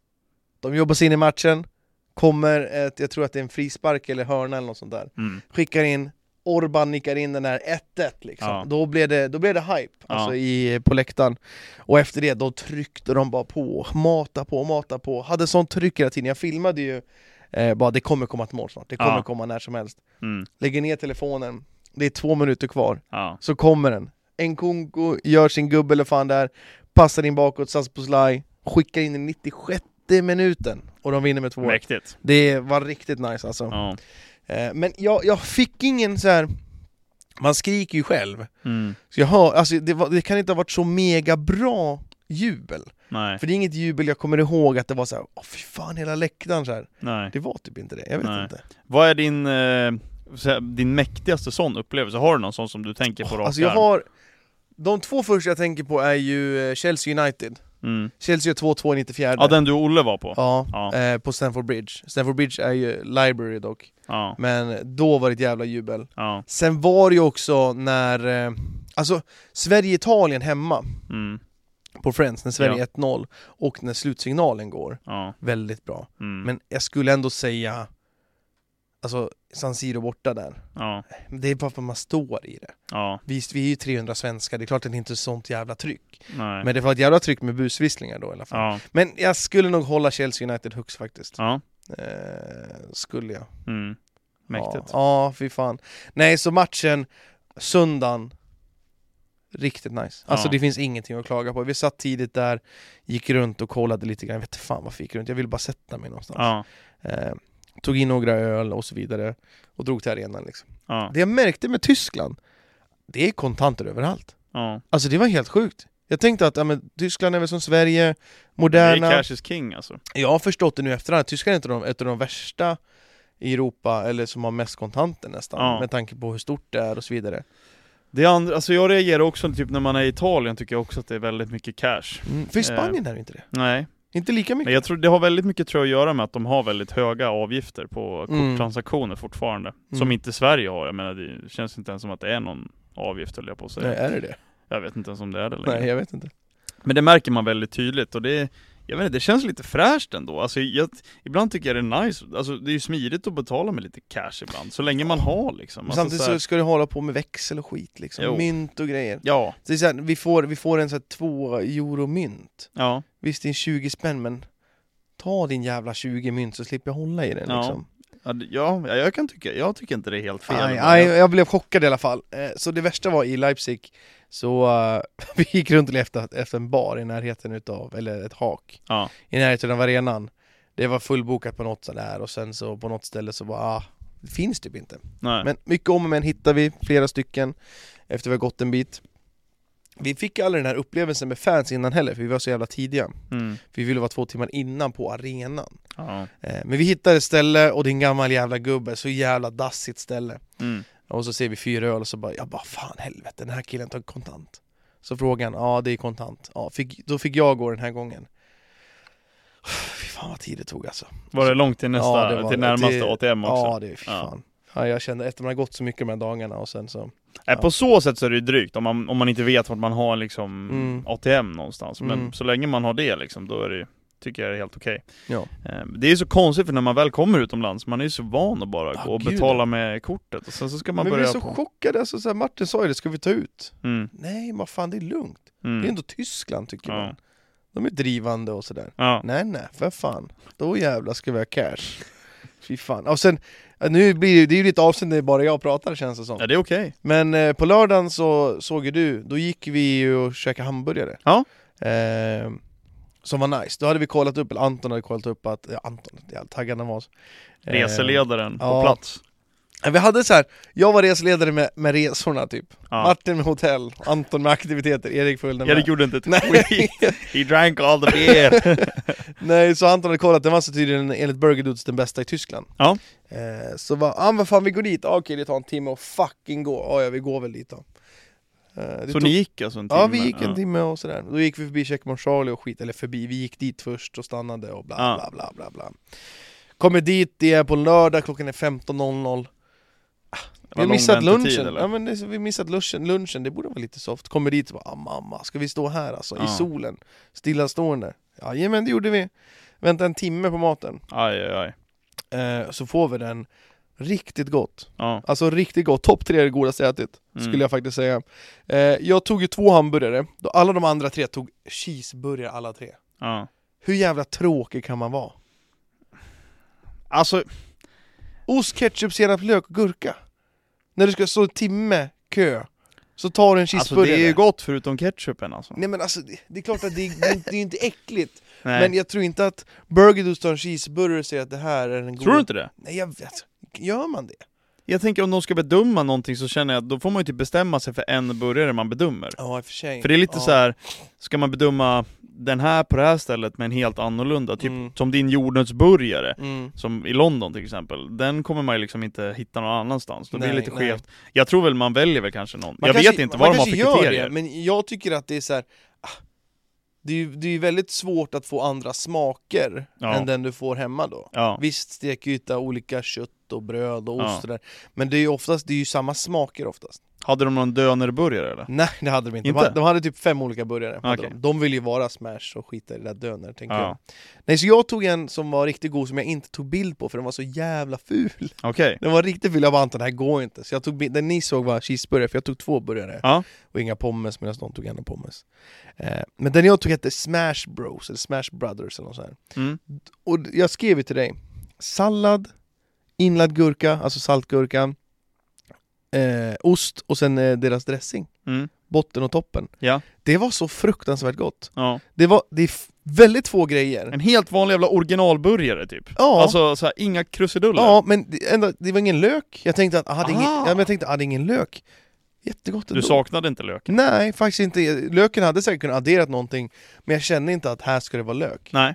[SPEAKER 1] de jobbar sig in i matchen, kommer ett, jag tror att det är en frispark eller hörna eller något sånt där.
[SPEAKER 2] Mm.
[SPEAKER 1] Skickar in, Orban nickar in den här 1-1 liksom.
[SPEAKER 2] Ja.
[SPEAKER 1] Då, blev det, då blev det hype
[SPEAKER 2] Ja.
[SPEAKER 1] alltså i, på läktaren. Och efter det, då tryckte de bara på, mata på, mata på. Hade sånt tryck hela tiden. Jag filmade ju eh, bara, det kommer komma ett mål snart, det kommer
[SPEAKER 2] Ja.
[SPEAKER 1] komma när som helst.
[SPEAKER 2] Mm.
[SPEAKER 1] Lägger ner telefonen, det är två minuter kvar
[SPEAKER 2] Ja.
[SPEAKER 1] så kommer den. Nkunku gör sin gubbe eller fan där, passar in bakåt, Saspuslaj, skickar in i 96 minuten och de vinner med 2-1.
[SPEAKER 2] Mäktigt.
[SPEAKER 1] Det var riktigt nice alltså.
[SPEAKER 2] Ja.
[SPEAKER 1] Eh, Men jag, jag fick ingen så här. man skriker ju själv.
[SPEAKER 2] Mm.
[SPEAKER 1] Så jag hör, alltså det, var, det kan inte ha varit så mega bra jubel.
[SPEAKER 2] Nej.
[SPEAKER 1] För det är inget jubel jag kommer ihåg att det var så här, åh fy fan hela läktaren så här.
[SPEAKER 2] Nej.
[SPEAKER 1] Det var typ inte det, jag vet
[SPEAKER 2] Nej.
[SPEAKER 1] inte.
[SPEAKER 2] Vad är din, eh, så här, din mäktigaste sån upplevelse? Har du någon sån som du tänker på rak
[SPEAKER 1] Alltså jag
[SPEAKER 2] arm?
[SPEAKER 1] har, de två första jag tänker på är ju eh, Chelsea United.
[SPEAKER 2] Mm.
[SPEAKER 1] Chelsea gör 2-2 i 94.
[SPEAKER 2] Ja, den du och Olle var på?
[SPEAKER 1] Ja,
[SPEAKER 2] Ja.
[SPEAKER 1] Eh, på Stanford Bridge. Stanford Bridge är ju library dock,
[SPEAKER 2] Ja.
[SPEAKER 1] men då var det ett jävla jubel.
[SPEAKER 2] Ja.
[SPEAKER 1] Sen var det ju också när, eh, alltså Sverige-Italien hemma
[SPEAKER 2] Mm.
[SPEAKER 1] på Friends, när Sverige
[SPEAKER 2] Ja.
[SPEAKER 1] 1-0 och när slutsignalen går,
[SPEAKER 2] Ja.
[SPEAKER 1] väldigt bra.
[SPEAKER 2] Mm.
[SPEAKER 1] Men jag skulle ändå säga, alltså San Siro borta där,
[SPEAKER 2] Ja.
[SPEAKER 1] Men det är bara för att man står i det.
[SPEAKER 2] Ja.
[SPEAKER 1] Visst, vi är ju 300 svenskar, det är klart att det inte är sånt jävla tryck.
[SPEAKER 2] Nej.
[SPEAKER 1] Men det var ett jävla tryck med busvisslingar då i alla fall.
[SPEAKER 2] Ja.
[SPEAKER 1] Men jag skulle nog hålla Chelsea United högst faktiskt.
[SPEAKER 2] Ja.
[SPEAKER 1] Eh, skulle jag.
[SPEAKER 2] Mm. Mäktigt.
[SPEAKER 1] Ja, ja fy fan. Nej, så matchen, söndagen, riktigt nice. Alltså
[SPEAKER 2] Ja.
[SPEAKER 1] det finns ingenting att klaga på. Vi satt tidigt där, gick runt och kollade lite grann. Jag vet inte fan varför jag gick runt, jag ville bara sätta mig någonstans.
[SPEAKER 2] Ja.
[SPEAKER 1] Eh, tog in några öl och så vidare och drog till arenan liksom.
[SPEAKER 2] Ja.
[SPEAKER 1] Det jag märkte med Tyskland, det är kontanter överallt.
[SPEAKER 2] Ja.
[SPEAKER 1] Alltså det var helt sjukt. Jag tänkte att ja, men, Tyskland är väl som Sverige,
[SPEAKER 2] Det är
[SPEAKER 1] moderna.
[SPEAKER 2] cash is king alltså.
[SPEAKER 1] Jag har förstått det nu efterhand, att Tyskland är ett av de, ett av de värsta i Europa, eller som har mest kontanter nästan,
[SPEAKER 2] Ja.
[SPEAKER 1] med tanke på hur stort det är och så vidare.
[SPEAKER 2] Det andra, alltså jag reagerar också typ när man är i Italien tycker jag också att det är väldigt mycket cash.
[SPEAKER 1] Mm. För i
[SPEAKER 2] Eh.
[SPEAKER 1] Spanien är det inte det.
[SPEAKER 2] Nej,
[SPEAKER 1] Inte lika mycket.
[SPEAKER 2] men jag tror det har väldigt mycket tror jag, att göra med att de har väldigt höga avgifter på
[SPEAKER 1] Mm.
[SPEAKER 2] korttransaktioner fortfarande. Som
[SPEAKER 1] Mm.
[SPEAKER 2] inte Sverige har, jag menar det känns inte ens som att det är någon avgift höll jag på att säga.
[SPEAKER 1] Nej, är det det?
[SPEAKER 2] Jag vet inte ens om det är det längre.
[SPEAKER 1] Nej, jag vet inte.
[SPEAKER 2] Men det märker man väldigt tydligt och det jag vet inte, det känns lite fräscht ändå. Alltså, jag, ibland tycker jag det är nice, alltså, det är ju smidigt att betala med lite cash ibland, så länge man har liksom.
[SPEAKER 1] Men
[SPEAKER 2] Alltså,
[SPEAKER 1] samtidigt
[SPEAKER 2] så här-
[SPEAKER 1] så ska du hålla på med växel och skit liksom,
[SPEAKER 2] Jo.
[SPEAKER 1] mynt och grejer.
[SPEAKER 2] Ja,
[SPEAKER 1] Så det är så här, vi, får, vi får en sån här två euro mynt.
[SPEAKER 2] ja,
[SPEAKER 1] Visst, det är 20 spänn, men ta din jävla 20 mynt så slipper jag hålla i den
[SPEAKER 2] Ja.
[SPEAKER 1] liksom.
[SPEAKER 2] ja, det- ja, jag kan tycka, jag tycker inte det är helt fel.
[SPEAKER 1] Aj,
[SPEAKER 2] Men
[SPEAKER 1] aj,
[SPEAKER 2] jag-
[SPEAKER 1] jag blev chockad i alla fall. Eh, Så det värsta var i Leipzig, så eh, vi gick runt och letade efter, efter en bar i närheten utav, eller ett hak,
[SPEAKER 2] Ja.
[SPEAKER 1] i närheten av arenan. Det var fullbokat på något sådär och sen så på något ställe så bara, ah, det finns typ inte.
[SPEAKER 2] Nej.
[SPEAKER 1] Men mycket om och men hittade vi, flera stycken, efter vi har gått en bit. Vi fick aldrig den här upplevelsen med fans innan heller, för vi var så jävla tidiga.
[SPEAKER 2] Mm.
[SPEAKER 1] Vi ville vara två timmar innan på arenan.
[SPEAKER 2] Ja.
[SPEAKER 1] Eh, Men vi hittade ett ställe och det är en gammal jävla gubbe, så jävla dassigt ställe.
[SPEAKER 2] Mm.
[SPEAKER 1] Och så ser vi fyra öl och så bara, jag bara fan helvete den här killen tar kontant Så frågan, ja det är kontant, ja, fick, då fick jag gå den här gången Fy fan vad tid det tog alltså
[SPEAKER 2] Var det långt till nästa,
[SPEAKER 1] det var-
[SPEAKER 2] till närmaste
[SPEAKER 1] det-
[SPEAKER 2] ATM också?
[SPEAKER 1] Ja det är fy
[SPEAKER 2] Ja.
[SPEAKER 1] fan ja, Jag kände efter man har gått så mycket de här dagarna och sen så
[SPEAKER 2] Nej, På så sätt så är det ju drygt, om man, om man inte vet vart man har liksom
[SPEAKER 1] Mm.
[SPEAKER 2] ATM någonstans. Men
[SPEAKER 1] Mm.
[SPEAKER 2] så länge man har det liksom, då är det, tycker jag det är helt okej.
[SPEAKER 1] Ja.
[SPEAKER 2] Eh, Det är ju så konstigt för när man väl kommer utomlands, man är ju så van att bara
[SPEAKER 1] Ja,
[SPEAKER 2] gå och
[SPEAKER 1] Ah, gud,
[SPEAKER 2] betala med kortet och sen så ska man
[SPEAKER 1] Men vi
[SPEAKER 2] börja...
[SPEAKER 1] blev så chockade, alltså, så här, Martin sa ju det, ska vi ta ut?
[SPEAKER 2] mm,
[SPEAKER 1] Nej vad fan det är lugnt, det är
[SPEAKER 2] mm.
[SPEAKER 1] ändå Tyskland tycker
[SPEAKER 2] Ja.
[SPEAKER 1] man De är drivande och sådär
[SPEAKER 2] Ja.
[SPEAKER 1] Nej nej, för fan. Då jävlar ska vi ha cash. Fy fan. Och sen, nu blir det, det är ju lite avsnitt när bara jag pratar känns det som.
[SPEAKER 2] ja, det är okej.
[SPEAKER 1] Men eh, på lördagen så såg ju du, då gick vi ju och käkade hamburgare.
[SPEAKER 2] Ja.
[SPEAKER 1] Eh, som var nice. Då hade vi kollat upp, eller Anton hade kollat upp att, ja, Anton, jävla taggad han var. Eh,
[SPEAKER 2] Reseledaren på
[SPEAKER 1] ja.
[SPEAKER 2] plats.
[SPEAKER 1] Vi hade så här, jag var reseledare med, med resorna typ.
[SPEAKER 2] Ja.
[SPEAKER 1] Martin med hotell, Anton med aktiviteter, Erik följde med.
[SPEAKER 2] Erik gjorde inte ett
[SPEAKER 1] Nej.
[SPEAKER 2] skit. He drank all the beer.
[SPEAKER 1] Nej, så Anton hade kollat, den var så tydligen enligt Burger Dudes den bästa i Tyskland.
[SPEAKER 2] Ja.
[SPEAKER 1] Eh, så var ah, vad fan vi går dit, ah, okej det tar en timme och fucking gå, ah, ja vi går väl dit då. Eh, det
[SPEAKER 2] så
[SPEAKER 1] tog-
[SPEAKER 2] ni gick alltså en timme?
[SPEAKER 1] Ja vi gick en timme och sådär, då gick vi förbi Checkmore Charlie och skit, eller förbi, vi gick dit först och stannade och bla
[SPEAKER 2] Ja.
[SPEAKER 1] bla bla bla bla Kommer dit, det är på lördag, klockan är 15.00 Ah, Vi
[SPEAKER 2] Det var
[SPEAKER 1] har
[SPEAKER 2] lång
[SPEAKER 1] missat
[SPEAKER 2] väntetid,
[SPEAKER 1] lunchen,
[SPEAKER 2] eller?
[SPEAKER 1] ja, men det, är så- vi har missat lunchen, lunchen, det borde vara lite soft Kommer dit och bara ah, mamma, ska vi stå här alltså, i
[SPEAKER 2] Ja.
[SPEAKER 1] solen, stillastående? Jajamän, det gjorde vi! Vänta en timme på maten,
[SPEAKER 2] Aj, aj, aj.
[SPEAKER 1] eh, så får vi den riktigt gott
[SPEAKER 2] Ja.
[SPEAKER 1] Alltså riktigt gott, topp tre är det godaste jag ätit,
[SPEAKER 2] Mm.
[SPEAKER 1] skulle jag faktiskt säga eh, Jag tog ju två hamburgare, då alla de andra tre tog cheeseburgare alla tre
[SPEAKER 2] ja.
[SPEAKER 1] Hur jävla tråkig kan man vara?
[SPEAKER 2] Alltså,
[SPEAKER 1] Ost, ketchup, senap, lök och gurka När du ska stå en timme kö, så tar du en
[SPEAKER 2] alltså,
[SPEAKER 1] cheeseburgare
[SPEAKER 2] det är ju gott förutom ketchupen alltså.
[SPEAKER 1] Nej men alltså, det, det är klart att det, det, är inte- det är inte äckligt,
[SPEAKER 2] Nej.
[SPEAKER 1] men jag tror inte att Burger Dudes tar en cheeseburger och säger att det här är en god...
[SPEAKER 2] Tror du inte det?
[SPEAKER 1] Nej jag vet, gör man det?
[SPEAKER 2] Jag tänker om de ska bedöma någonting så känner jag att då får man ju typ bestämma sig för en burgare man bedömer.
[SPEAKER 1] Ja i och för sig
[SPEAKER 2] För det är lite
[SPEAKER 1] ja.
[SPEAKER 2] så här. ska man bedöma den här på det här stället med en helt annorlunda, typ
[SPEAKER 1] Mm.
[SPEAKER 2] som din jordnötsburgare,
[SPEAKER 1] Mm.
[SPEAKER 2] som i London till exempel, den kommer man ju liksom inte hitta någon annanstans, då blir det
[SPEAKER 1] Nej,
[SPEAKER 2] lite
[SPEAKER 1] nej.
[SPEAKER 2] skevt. Jag tror väl man väljer väl kanske någon,
[SPEAKER 1] Man
[SPEAKER 2] jag
[SPEAKER 1] kanske-
[SPEAKER 2] vet inte
[SPEAKER 1] man
[SPEAKER 2] vad de har för
[SPEAKER 1] kanske gör
[SPEAKER 2] kriterier.
[SPEAKER 1] Det, men jag tycker att det är så här. ah, Det är ju det är ju väldigt svårt att få andra smaker
[SPEAKER 2] Ja.
[SPEAKER 1] än den du får hemma då
[SPEAKER 2] Ja.
[SPEAKER 1] Visst, stekyta, olika kött och bröd och ost
[SPEAKER 2] Ja.
[SPEAKER 1] och där. Men det är ju oftast, det är ju samma smaker oftast
[SPEAKER 2] Hade de någon dönerburgare eller?
[SPEAKER 1] Nej det hade de inte,
[SPEAKER 2] Inte?
[SPEAKER 1] De, hade, de hade typ fem olika burgare hade
[SPEAKER 2] Okej.
[SPEAKER 1] de. de vill ju vara smash och skita i det där döner tänker jag
[SPEAKER 2] Ja,
[SPEAKER 1] Nej så jag tog en som var riktigt god som jag inte tog bild på för den var så jävla ful
[SPEAKER 2] okej.
[SPEAKER 1] Den var riktigt ful, jag bara Anton det här går inte Så jag tog bild, den ni såg var cheeseburgare för jag tog två burgare
[SPEAKER 2] Ja.
[SPEAKER 1] Och inga pommes medan de tog en pommes eh, Men den jag tog hette Smash Bros eller Smash Brothers eller något sånt här.
[SPEAKER 2] Mm.
[SPEAKER 1] Och d- jag skrev ju till dig Sallad, inlagd gurka, alltså saltgurka eh, Ost och sen eh, deras dressing
[SPEAKER 2] Mm.
[SPEAKER 1] botten och toppen.
[SPEAKER 2] Ja.
[SPEAKER 1] Det var så fruktansvärt gott.
[SPEAKER 2] Ja.
[SPEAKER 1] Det, var, det är f- väldigt få grejer.
[SPEAKER 2] En helt vanlig jävla originalburgare typ.
[SPEAKER 1] Ja,
[SPEAKER 2] Alltså så här, inga krusiduller.
[SPEAKER 1] ja men det, ändå, det var ingen lök. Jag tänkte att, aha, det är ingen,
[SPEAKER 2] Ah.
[SPEAKER 1] ja, men jag tänkte, ah, det är ingen lök. Jättegott ändå.
[SPEAKER 2] Du saknade inte lök?
[SPEAKER 1] Nej, faktiskt inte. Löken hade säkert kunnat adderat någonting, men jag kände inte att här ska det vara lök.
[SPEAKER 2] Nej.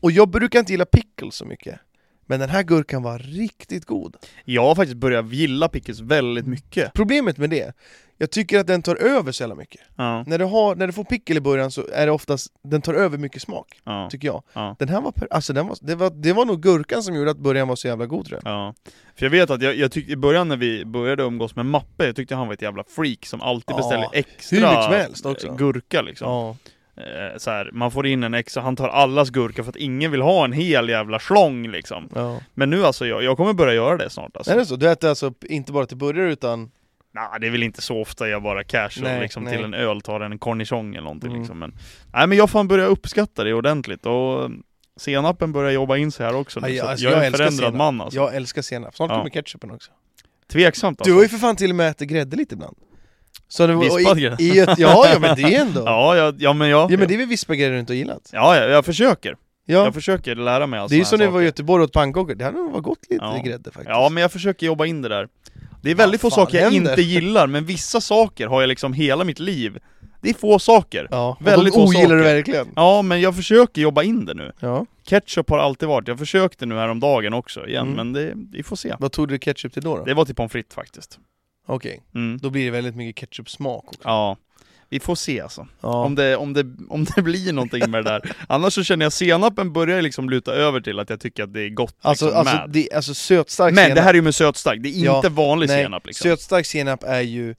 [SPEAKER 1] Och jag brukar inte gilla pickles så mycket. Men den här gurkan var riktigt god.
[SPEAKER 2] Jag har faktiskt börjat gilla pickles väldigt mycket.
[SPEAKER 1] Problemet med det, jag tycker att den tar över så jävla mycket.
[SPEAKER 2] Ja.
[SPEAKER 1] När du, har, när du får pickel i början så är det oftast, den tar över mycket smak,
[SPEAKER 2] Ja.
[SPEAKER 1] tycker jag.
[SPEAKER 2] Ja.
[SPEAKER 1] Den här var, per- alltså den var, det, var, det var nog gurkan som gjorde att början var så jävla god tror jag.
[SPEAKER 2] Ja, för jag vet att jag, jag tyckte i början när vi började umgås med Mappe, jag tyckte han var ett jävla freak som
[SPEAKER 1] Ja,
[SPEAKER 2] alltid beställer extra
[SPEAKER 1] hur mycket som helst också.
[SPEAKER 2] gurka liksom.
[SPEAKER 1] Ja.
[SPEAKER 2] Eh, Så här, man får in en extra, han tar allas gurka för att ingen vill ha en hel jävla slång liksom.
[SPEAKER 1] ja.
[SPEAKER 2] Men nu alltså, jag, jag kommer börja göra det snart alltså.
[SPEAKER 1] Är det så? Du äter alltså p- inte bara till burgare utan...
[SPEAKER 2] Nej, det är väl inte så ofta jag bara casual
[SPEAKER 1] Nej,
[SPEAKER 2] liksom
[SPEAKER 1] nej.
[SPEAKER 2] till en öl tar en cornichon eller någonting
[SPEAKER 1] Mm.
[SPEAKER 2] liksom. Men, nej men jag fan börjar uppskatta det ordentligt och senapen börjar jobba in sig här också nu,
[SPEAKER 1] Aj,
[SPEAKER 2] så att
[SPEAKER 1] alltså,
[SPEAKER 2] jag,
[SPEAKER 1] jag
[SPEAKER 2] är en
[SPEAKER 1] älskar
[SPEAKER 2] förändrad
[SPEAKER 1] senap.
[SPEAKER 2] man alltså.
[SPEAKER 1] Jag älskar senap, snart
[SPEAKER 2] Ja.
[SPEAKER 1] kommer ketchupen också.
[SPEAKER 2] Tveksamt alltså.
[SPEAKER 1] Du har ju för fan till och med ätit grädde lite ibland. Så det var,
[SPEAKER 2] Vispad
[SPEAKER 1] och i,
[SPEAKER 2] grädde.
[SPEAKER 1] i ett, ja, ja men det ändå. Ja,
[SPEAKER 2] Ja, jag, ja men jag...
[SPEAKER 1] men det är väl vispad grädde du inte har gillat?
[SPEAKER 2] Ja, jag, jag försöker.
[SPEAKER 1] Ja.
[SPEAKER 2] Jag försöker lära mig allt
[SPEAKER 1] det är ju
[SPEAKER 2] såna
[SPEAKER 1] som när
[SPEAKER 2] här
[SPEAKER 1] vi var i
[SPEAKER 2] saker.
[SPEAKER 1] Göteborg och åt pannkakor, det hade nog varit gott lite
[SPEAKER 2] Ja.
[SPEAKER 1] grädde faktiskt.
[SPEAKER 2] Ja, men jag försöker jobba in det där. Det är väldigt
[SPEAKER 1] Vad
[SPEAKER 2] få
[SPEAKER 1] fan
[SPEAKER 2] saker jag
[SPEAKER 1] händer?
[SPEAKER 2] inte gillar, men vissa saker har jag liksom hela mitt liv. Det är få saker. Ja,
[SPEAKER 1] ja.
[SPEAKER 2] väldigt
[SPEAKER 1] och de
[SPEAKER 2] få
[SPEAKER 1] ogillar du
[SPEAKER 2] saker.
[SPEAKER 1] verkligen.
[SPEAKER 2] men jag försöker jobba in det nu.
[SPEAKER 1] Ja.
[SPEAKER 2] Ketchup har alltid varit, jag försökte nu häromdagen också igen,
[SPEAKER 1] Mm.
[SPEAKER 2] men det, vi får se.
[SPEAKER 1] Vad tog du ketchup till då? då?
[SPEAKER 2] Det var till pommes frites faktiskt.
[SPEAKER 1] Okej,
[SPEAKER 2] Mm.
[SPEAKER 1] då blir det väldigt mycket ketchupsmak också.
[SPEAKER 2] Ja. Vi får se alltså,
[SPEAKER 1] Ja.
[SPEAKER 2] om, det, om, det, om det blir någonting med det där. Annars så känner jag senapen börjar liksom luta över till att jag tycker att det är gott
[SPEAKER 1] Alltså,
[SPEAKER 2] liksom,
[SPEAKER 1] alltså,
[SPEAKER 2] med.
[SPEAKER 1] det, alltså sötstark
[SPEAKER 2] Men
[SPEAKER 1] senap
[SPEAKER 2] det här är ju med sötstark, det är inte
[SPEAKER 1] Ja,
[SPEAKER 2] vanlig
[SPEAKER 1] Nej,
[SPEAKER 2] senap liksom.
[SPEAKER 1] sötstark senap är ju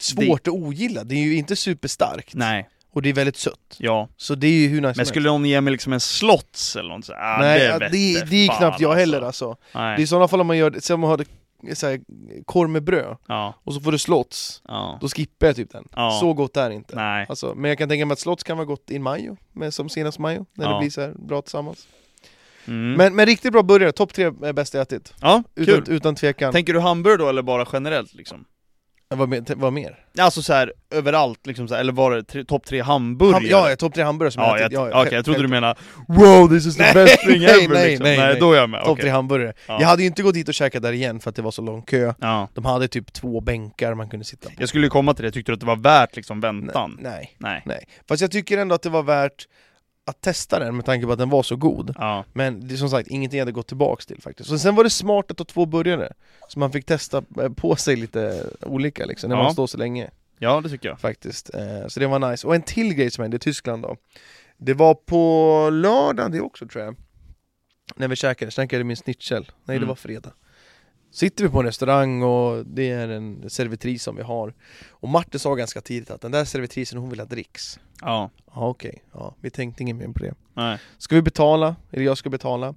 [SPEAKER 1] svårt att ogilla, det är ju inte superstarkt
[SPEAKER 2] Nej,
[SPEAKER 1] och det är väldigt sött.
[SPEAKER 2] ja.
[SPEAKER 1] Så det är ju hur nice
[SPEAKER 2] Men
[SPEAKER 1] som
[SPEAKER 2] skulle någon ge mig liksom en slots eller något så, ah,
[SPEAKER 1] Nej,
[SPEAKER 2] det,
[SPEAKER 1] ja,
[SPEAKER 2] vette
[SPEAKER 1] det, det är
[SPEAKER 2] fan,
[SPEAKER 1] knappt jag
[SPEAKER 2] alltså.
[SPEAKER 1] heller alltså.
[SPEAKER 2] Nej.
[SPEAKER 1] Det är i sådana fall om man gör, säg om man har så här, korv med bröd
[SPEAKER 2] Ja,
[SPEAKER 1] och så får du slots,
[SPEAKER 2] ja.
[SPEAKER 1] då skippar jag typ den.
[SPEAKER 2] Ja.
[SPEAKER 1] Så gott är det inte.
[SPEAKER 2] Nej.
[SPEAKER 1] Alltså, men jag kan tänka mig att slots kan vara gott i majo, med, som senast majo, när det
[SPEAKER 2] Ja.
[SPEAKER 1] blir så här bra tillsammans.
[SPEAKER 2] Mm.
[SPEAKER 1] Men, men riktigt bra burgare, topp tre är bäst jag ätit.
[SPEAKER 2] ja, kul.
[SPEAKER 1] Utan, utan tvekan.
[SPEAKER 2] Tänker du hamburgare då eller bara generellt liksom?
[SPEAKER 1] Vad, mer- vad mer?
[SPEAKER 2] Alltså så här överallt liksom så här, eller var det tre- topp tre hamburgare?
[SPEAKER 1] Ham- Ja, ja, topp tre hamburgare som
[SPEAKER 2] ja,
[SPEAKER 1] jag ätit.
[SPEAKER 2] jag,
[SPEAKER 1] Ja, ja,
[SPEAKER 2] okej, jag trodde du
[SPEAKER 1] själv-
[SPEAKER 2] menade Wow this is the best thing
[SPEAKER 1] nej,
[SPEAKER 2] ever
[SPEAKER 1] nej,
[SPEAKER 2] liksom.
[SPEAKER 1] nej,
[SPEAKER 2] Nej,
[SPEAKER 1] nej.
[SPEAKER 2] då är jag med,
[SPEAKER 1] Topp tre
[SPEAKER 2] okej.
[SPEAKER 1] hamburgare.
[SPEAKER 2] Ja.
[SPEAKER 1] Jag hade ju inte gått dit och käkat där igen för att det var så lång kö.
[SPEAKER 2] ja.
[SPEAKER 1] De hade typ två bänkar man kunde sitta på.
[SPEAKER 2] Jag skulle ju komma till det, tyckte du att det var värt liksom väntan?
[SPEAKER 1] Nej, nej,
[SPEAKER 2] Nej.
[SPEAKER 1] nej. Fast jag tycker ändå att det var värt att testa den med tanke på att den var så god.
[SPEAKER 2] Ja,
[SPEAKER 1] Men det är som sagt ingenting jag hade gått tillbaks till faktiskt. Och sen var det smart att ta två burgare. Så man fick testa eh, på sig lite olika liksom, när
[SPEAKER 2] Ja.
[SPEAKER 1] man står så länge
[SPEAKER 2] ja det tycker jag.
[SPEAKER 1] faktiskt. Eh, Så det var nice. Och en till grej som hände i Tyskland då. Det var på lördagen det också tror jag. När vi käkade, käkade min schnitzel. Nej det
[SPEAKER 2] Mm.
[SPEAKER 1] var fredag. Sitter vi på en restaurang och det är en servitris som vi har Och Martin sa ganska tidigt att den där servitrisen hon vill ha dricks
[SPEAKER 2] Ja,
[SPEAKER 1] Ja okej, ja, vi tänkte inget mer på det
[SPEAKER 2] nej.
[SPEAKER 1] Ska vi betala? Eller jag ska betala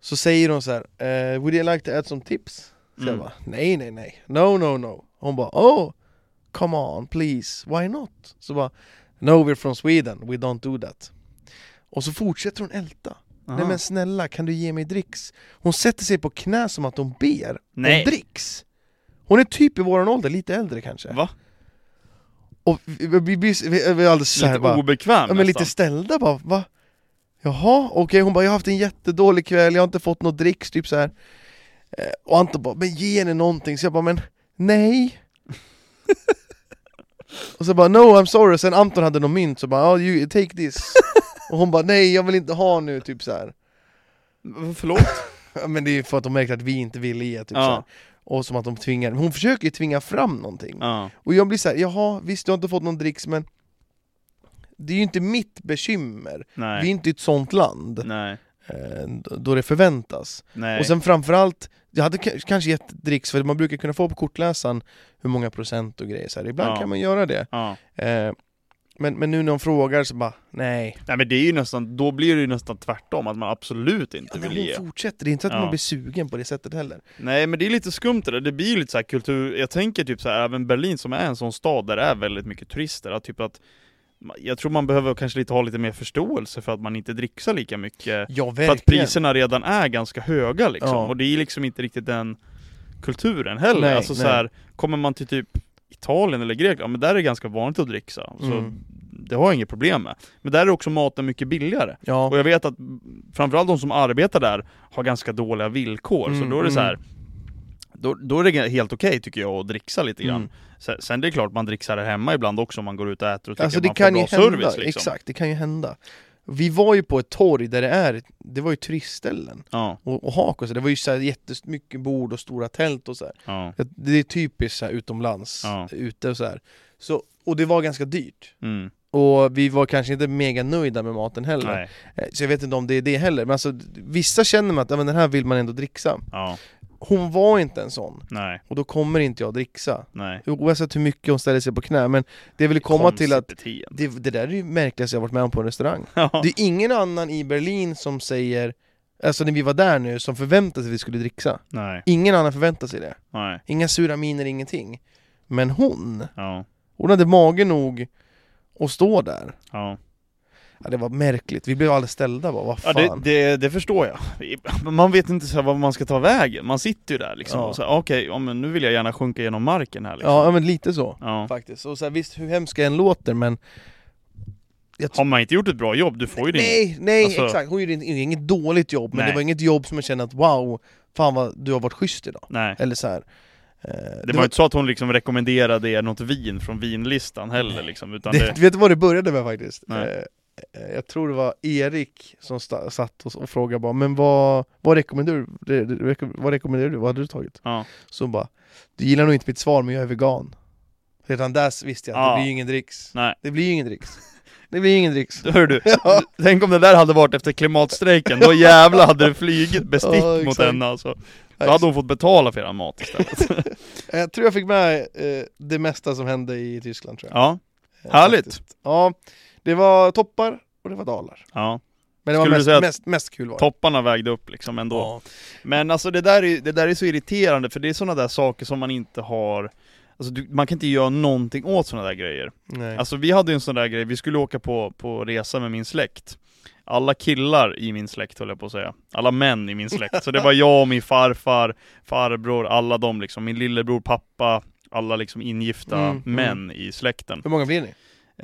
[SPEAKER 1] Så säger hon så här, eh, Would you like to add some tips? Så jag
[SPEAKER 2] Mm.
[SPEAKER 1] bara, nej nej nej, no no no Hon bara, oh come on please, why not? Så bara, no we're from Sweden, we don't do that Och så fortsätter hon älta Nej
[SPEAKER 2] Aha.
[SPEAKER 1] men snälla, kan du ge mig dricks? Hon sätter sig på knä som att hon ber
[SPEAKER 2] Nej.
[SPEAKER 1] om dricks Hon är typ i våran ålder, lite äldre kanske
[SPEAKER 2] Va?
[SPEAKER 1] Och vi, vi, vi, vi, vi är alldeles såhär
[SPEAKER 2] Lite
[SPEAKER 1] bara
[SPEAKER 2] obekväm
[SPEAKER 1] ja, men lite ställda bara, va? Jaha, okej, hon bara 'Jag har haft en jättedålig kväll, jag har inte fått något dricks' typ så här. Eh, Och Anton bara 'Men ge henne någonting' så jag bara 'Men nej' Och så bara 'No I'm sorry' sen Anton hade någon mynt så bara oh, you, 'Take this' Och hon bara 'Nej jag vill inte ha nu' typ så här.
[SPEAKER 2] nästan. Förlåt?
[SPEAKER 1] Ja, Men det är ju för att de märkte att vi inte ville ge typ
[SPEAKER 2] Ja.
[SPEAKER 1] så här. Och som att de tvingar, hon försöker ju tvinga fram någonting
[SPEAKER 2] Ja.
[SPEAKER 1] och jag blir så här, jaha visst du har inte fått någon dricks men Det är ju inte mitt bekymmer
[SPEAKER 2] Nej.
[SPEAKER 1] Vi är inte i ett sånt land
[SPEAKER 2] Nej.
[SPEAKER 1] eh, då det förväntas.
[SPEAKER 2] Nej.
[SPEAKER 1] Och sen framförallt, jag hade k- kanske gett dricks för man brukar kunna få på kortläsaren hur många procent och grejer så här. Ibland
[SPEAKER 2] Ja.
[SPEAKER 1] kan man göra det.
[SPEAKER 2] Ja.
[SPEAKER 1] Eh, men, men nu när de frågar så bara, nej.
[SPEAKER 2] Nej men det är ju nästan, då blir det ju nästan tvärtom, att man absolut inte
[SPEAKER 1] Men
[SPEAKER 2] vill ge.
[SPEAKER 1] hon fortsätter, det är inte så att
[SPEAKER 2] Ja.
[SPEAKER 1] man blir sugen på det sättet heller.
[SPEAKER 2] Nej men det är lite skumt det där, det blir ju lite så här kultur, jag tänker typ så här, även Berlin som är en sån stad där det är väldigt mycket turister, att typ att jag tror man behöver kanske lite ha lite mer förståelse för att man inte dricksar lika mycket,
[SPEAKER 1] Ja
[SPEAKER 2] för att
[SPEAKER 1] verkligen.
[SPEAKER 2] priserna redan är ganska höga liksom,
[SPEAKER 1] Ja.
[SPEAKER 2] och det är liksom inte riktigt den kulturen heller.
[SPEAKER 1] Nej,
[SPEAKER 2] alltså så
[SPEAKER 1] nej.
[SPEAKER 2] här, kommer man till typ Italien eller Grekland, ja, men där är det ganska vanligt att dricksa, så
[SPEAKER 1] Mm.
[SPEAKER 2] det har jag inget problem med. Men där är också maten mycket billigare.
[SPEAKER 1] Ja.
[SPEAKER 2] Och jag vet att framförallt de som arbetar där har ganska dåliga villkor, så
[SPEAKER 1] Mm,
[SPEAKER 2] då är det så här.
[SPEAKER 1] mm.
[SPEAKER 2] Då, då är det helt okej tycker jag att dricksa lite grann.
[SPEAKER 1] Mm.
[SPEAKER 2] Sen, sen det är klart man dricksar här hemma ibland också om man går ut och äter och tycker
[SPEAKER 1] Alltså
[SPEAKER 2] att
[SPEAKER 1] det
[SPEAKER 2] man
[SPEAKER 1] kan
[SPEAKER 2] får
[SPEAKER 1] ju
[SPEAKER 2] bra
[SPEAKER 1] hända,
[SPEAKER 2] service liksom.
[SPEAKER 1] exakt, det kan ju hända. Vi var ju på ett torg där det är, det var ju turistställen
[SPEAKER 2] Ja,
[SPEAKER 1] och, och hak och så, det var ju så här jättemycket bord och stora tält och så här.
[SPEAKER 2] ja,
[SPEAKER 1] Att Det är typiskt så här utomlands,
[SPEAKER 2] Ja.
[SPEAKER 1] ute och så här. Så, och det var ganska dyrt.
[SPEAKER 2] mm,
[SPEAKER 1] Och vi var kanske inte mega nöjda med maten heller.
[SPEAKER 2] nej,
[SPEAKER 1] Eh, Så jag vet inte om det är det heller. Men alltså, d- vissa känner man att ja, men den här vill man ändå dricksa.
[SPEAKER 2] ja,
[SPEAKER 1] Hon var inte en sån.
[SPEAKER 2] nej,
[SPEAKER 1] Och då kommer inte jag dricksa.
[SPEAKER 2] nej.
[SPEAKER 1] Oavsett hur mycket hon ställer sig på knä. Men det jag vill komma till att
[SPEAKER 2] Beteende.
[SPEAKER 1] det, det där är ju märkligaste jag varit med om på en restaurang.
[SPEAKER 2] Ja,
[SPEAKER 1] Det är ingen annan i Berlin som säger, alltså när vi var där nu, som förväntade sig att vi skulle dricksa.
[SPEAKER 2] nej,
[SPEAKER 1] Ingen annan förväntade sig det.
[SPEAKER 2] nej,
[SPEAKER 1] Inga sura miner, ingenting. Men hon,
[SPEAKER 2] ja,
[SPEAKER 1] hon hade mage nog att stå där.
[SPEAKER 2] ja.
[SPEAKER 1] Ja, det var märkligt, vi blev alldeles ställda bara, vad
[SPEAKER 2] ja
[SPEAKER 1] fan.
[SPEAKER 2] det, det, det förstår jag. Man vet inte så här vad man ska ta vägen, man sitter ju där liksom
[SPEAKER 1] Ja.
[SPEAKER 2] och så här, okej, ja, men nu vill jag gärna sjunka genom marken här liksom.
[SPEAKER 1] ja, ja, men lite så
[SPEAKER 2] ja.
[SPEAKER 1] faktiskt. Och så här, visst, hur hemskt jag än låter men... Jag
[SPEAKER 2] Har man inte gjort ett bra jobb, du får ju din...
[SPEAKER 1] nej, nej,
[SPEAKER 2] Alltså-
[SPEAKER 1] exakt. Hon gjorde inte- inget dåligt jobb, men
[SPEAKER 2] Nej.
[SPEAKER 1] det var inget jobb som jag kände att wow, fan vad du har varit schysst idag.
[SPEAKER 2] Nej.
[SPEAKER 1] Eller så här. eh,
[SPEAKER 2] Det var ju inte så att hon liksom rekommenderade er något vin från vinlistan heller liksom, utan det...
[SPEAKER 1] det, Vet du vad det började med faktiskt?
[SPEAKER 2] Nej.
[SPEAKER 1] Eh, eh, Jag tror det var Erik som sta- satt och, och frågade bara, men vad, vad, rekommenderar du, re- re- vad rekommenderar du? Vad hade du tagit?
[SPEAKER 2] Ja.
[SPEAKER 1] Så hon bara, du gillar nog inte mitt svar men jag är vegan. Redan där visste jag att
[SPEAKER 2] Ja.
[SPEAKER 1] det blir ju ingen dricks.
[SPEAKER 2] Nej.
[SPEAKER 1] Det blir ju ingen dricks. Det blir ju ingen dricks.
[SPEAKER 2] Hör du, tänk om det där hade varit efter klimatstrejken, då jävlar hade det flugit bestick
[SPEAKER 1] Ja,
[SPEAKER 2] mot
[SPEAKER 1] exakt.
[SPEAKER 2] henne alltså. Då hade hon fått betala för eran mat istället.
[SPEAKER 1] Jag tror jag fick med eh, det mesta som hände i Tyskland tror jag.
[SPEAKER 2] Ja,
[SPEAKER 1] Eh,
[SPEAKER 2] härligt!
[SPEAKER 1] faktiskt. Ja, det var toppar och det var dalar.
[SPEAKER 2] Ja,
[SPEAKER 1] Men det var
[SPEAKER 2] Skulle du
[SPEAKER 1] mest,
[SPEAKER 2] säga att
[SPEAKER 1] mest, mest kul var det.
[SPEAKER 2] topparna vägde upp liksom ändå.
[SPEAKER 1] Ja.
[SPEAKER 2] Men alltså det där, är, det där är så irriterande, för det är sådana där saker som man inte har... Alltså du, man kan inte göra någonting åt sådana där grejer.
[SPEAKER 1] Nej.
[SPEAKER 2] Alltså vi hade ju en sån där grej, vi skulle åka på, på resa med min släkt Alla killar i min släkt höll jag på att säga, alla män i min släkt Så det var jag och min farfar, farbror, alla de liksom, min lillebror, pappa Alla liksom ingifta
[SPEAKER 1] Mm, mm.
[SPEAKER 2] män i släkten
[SPEAKER 1] Hur många blir ni?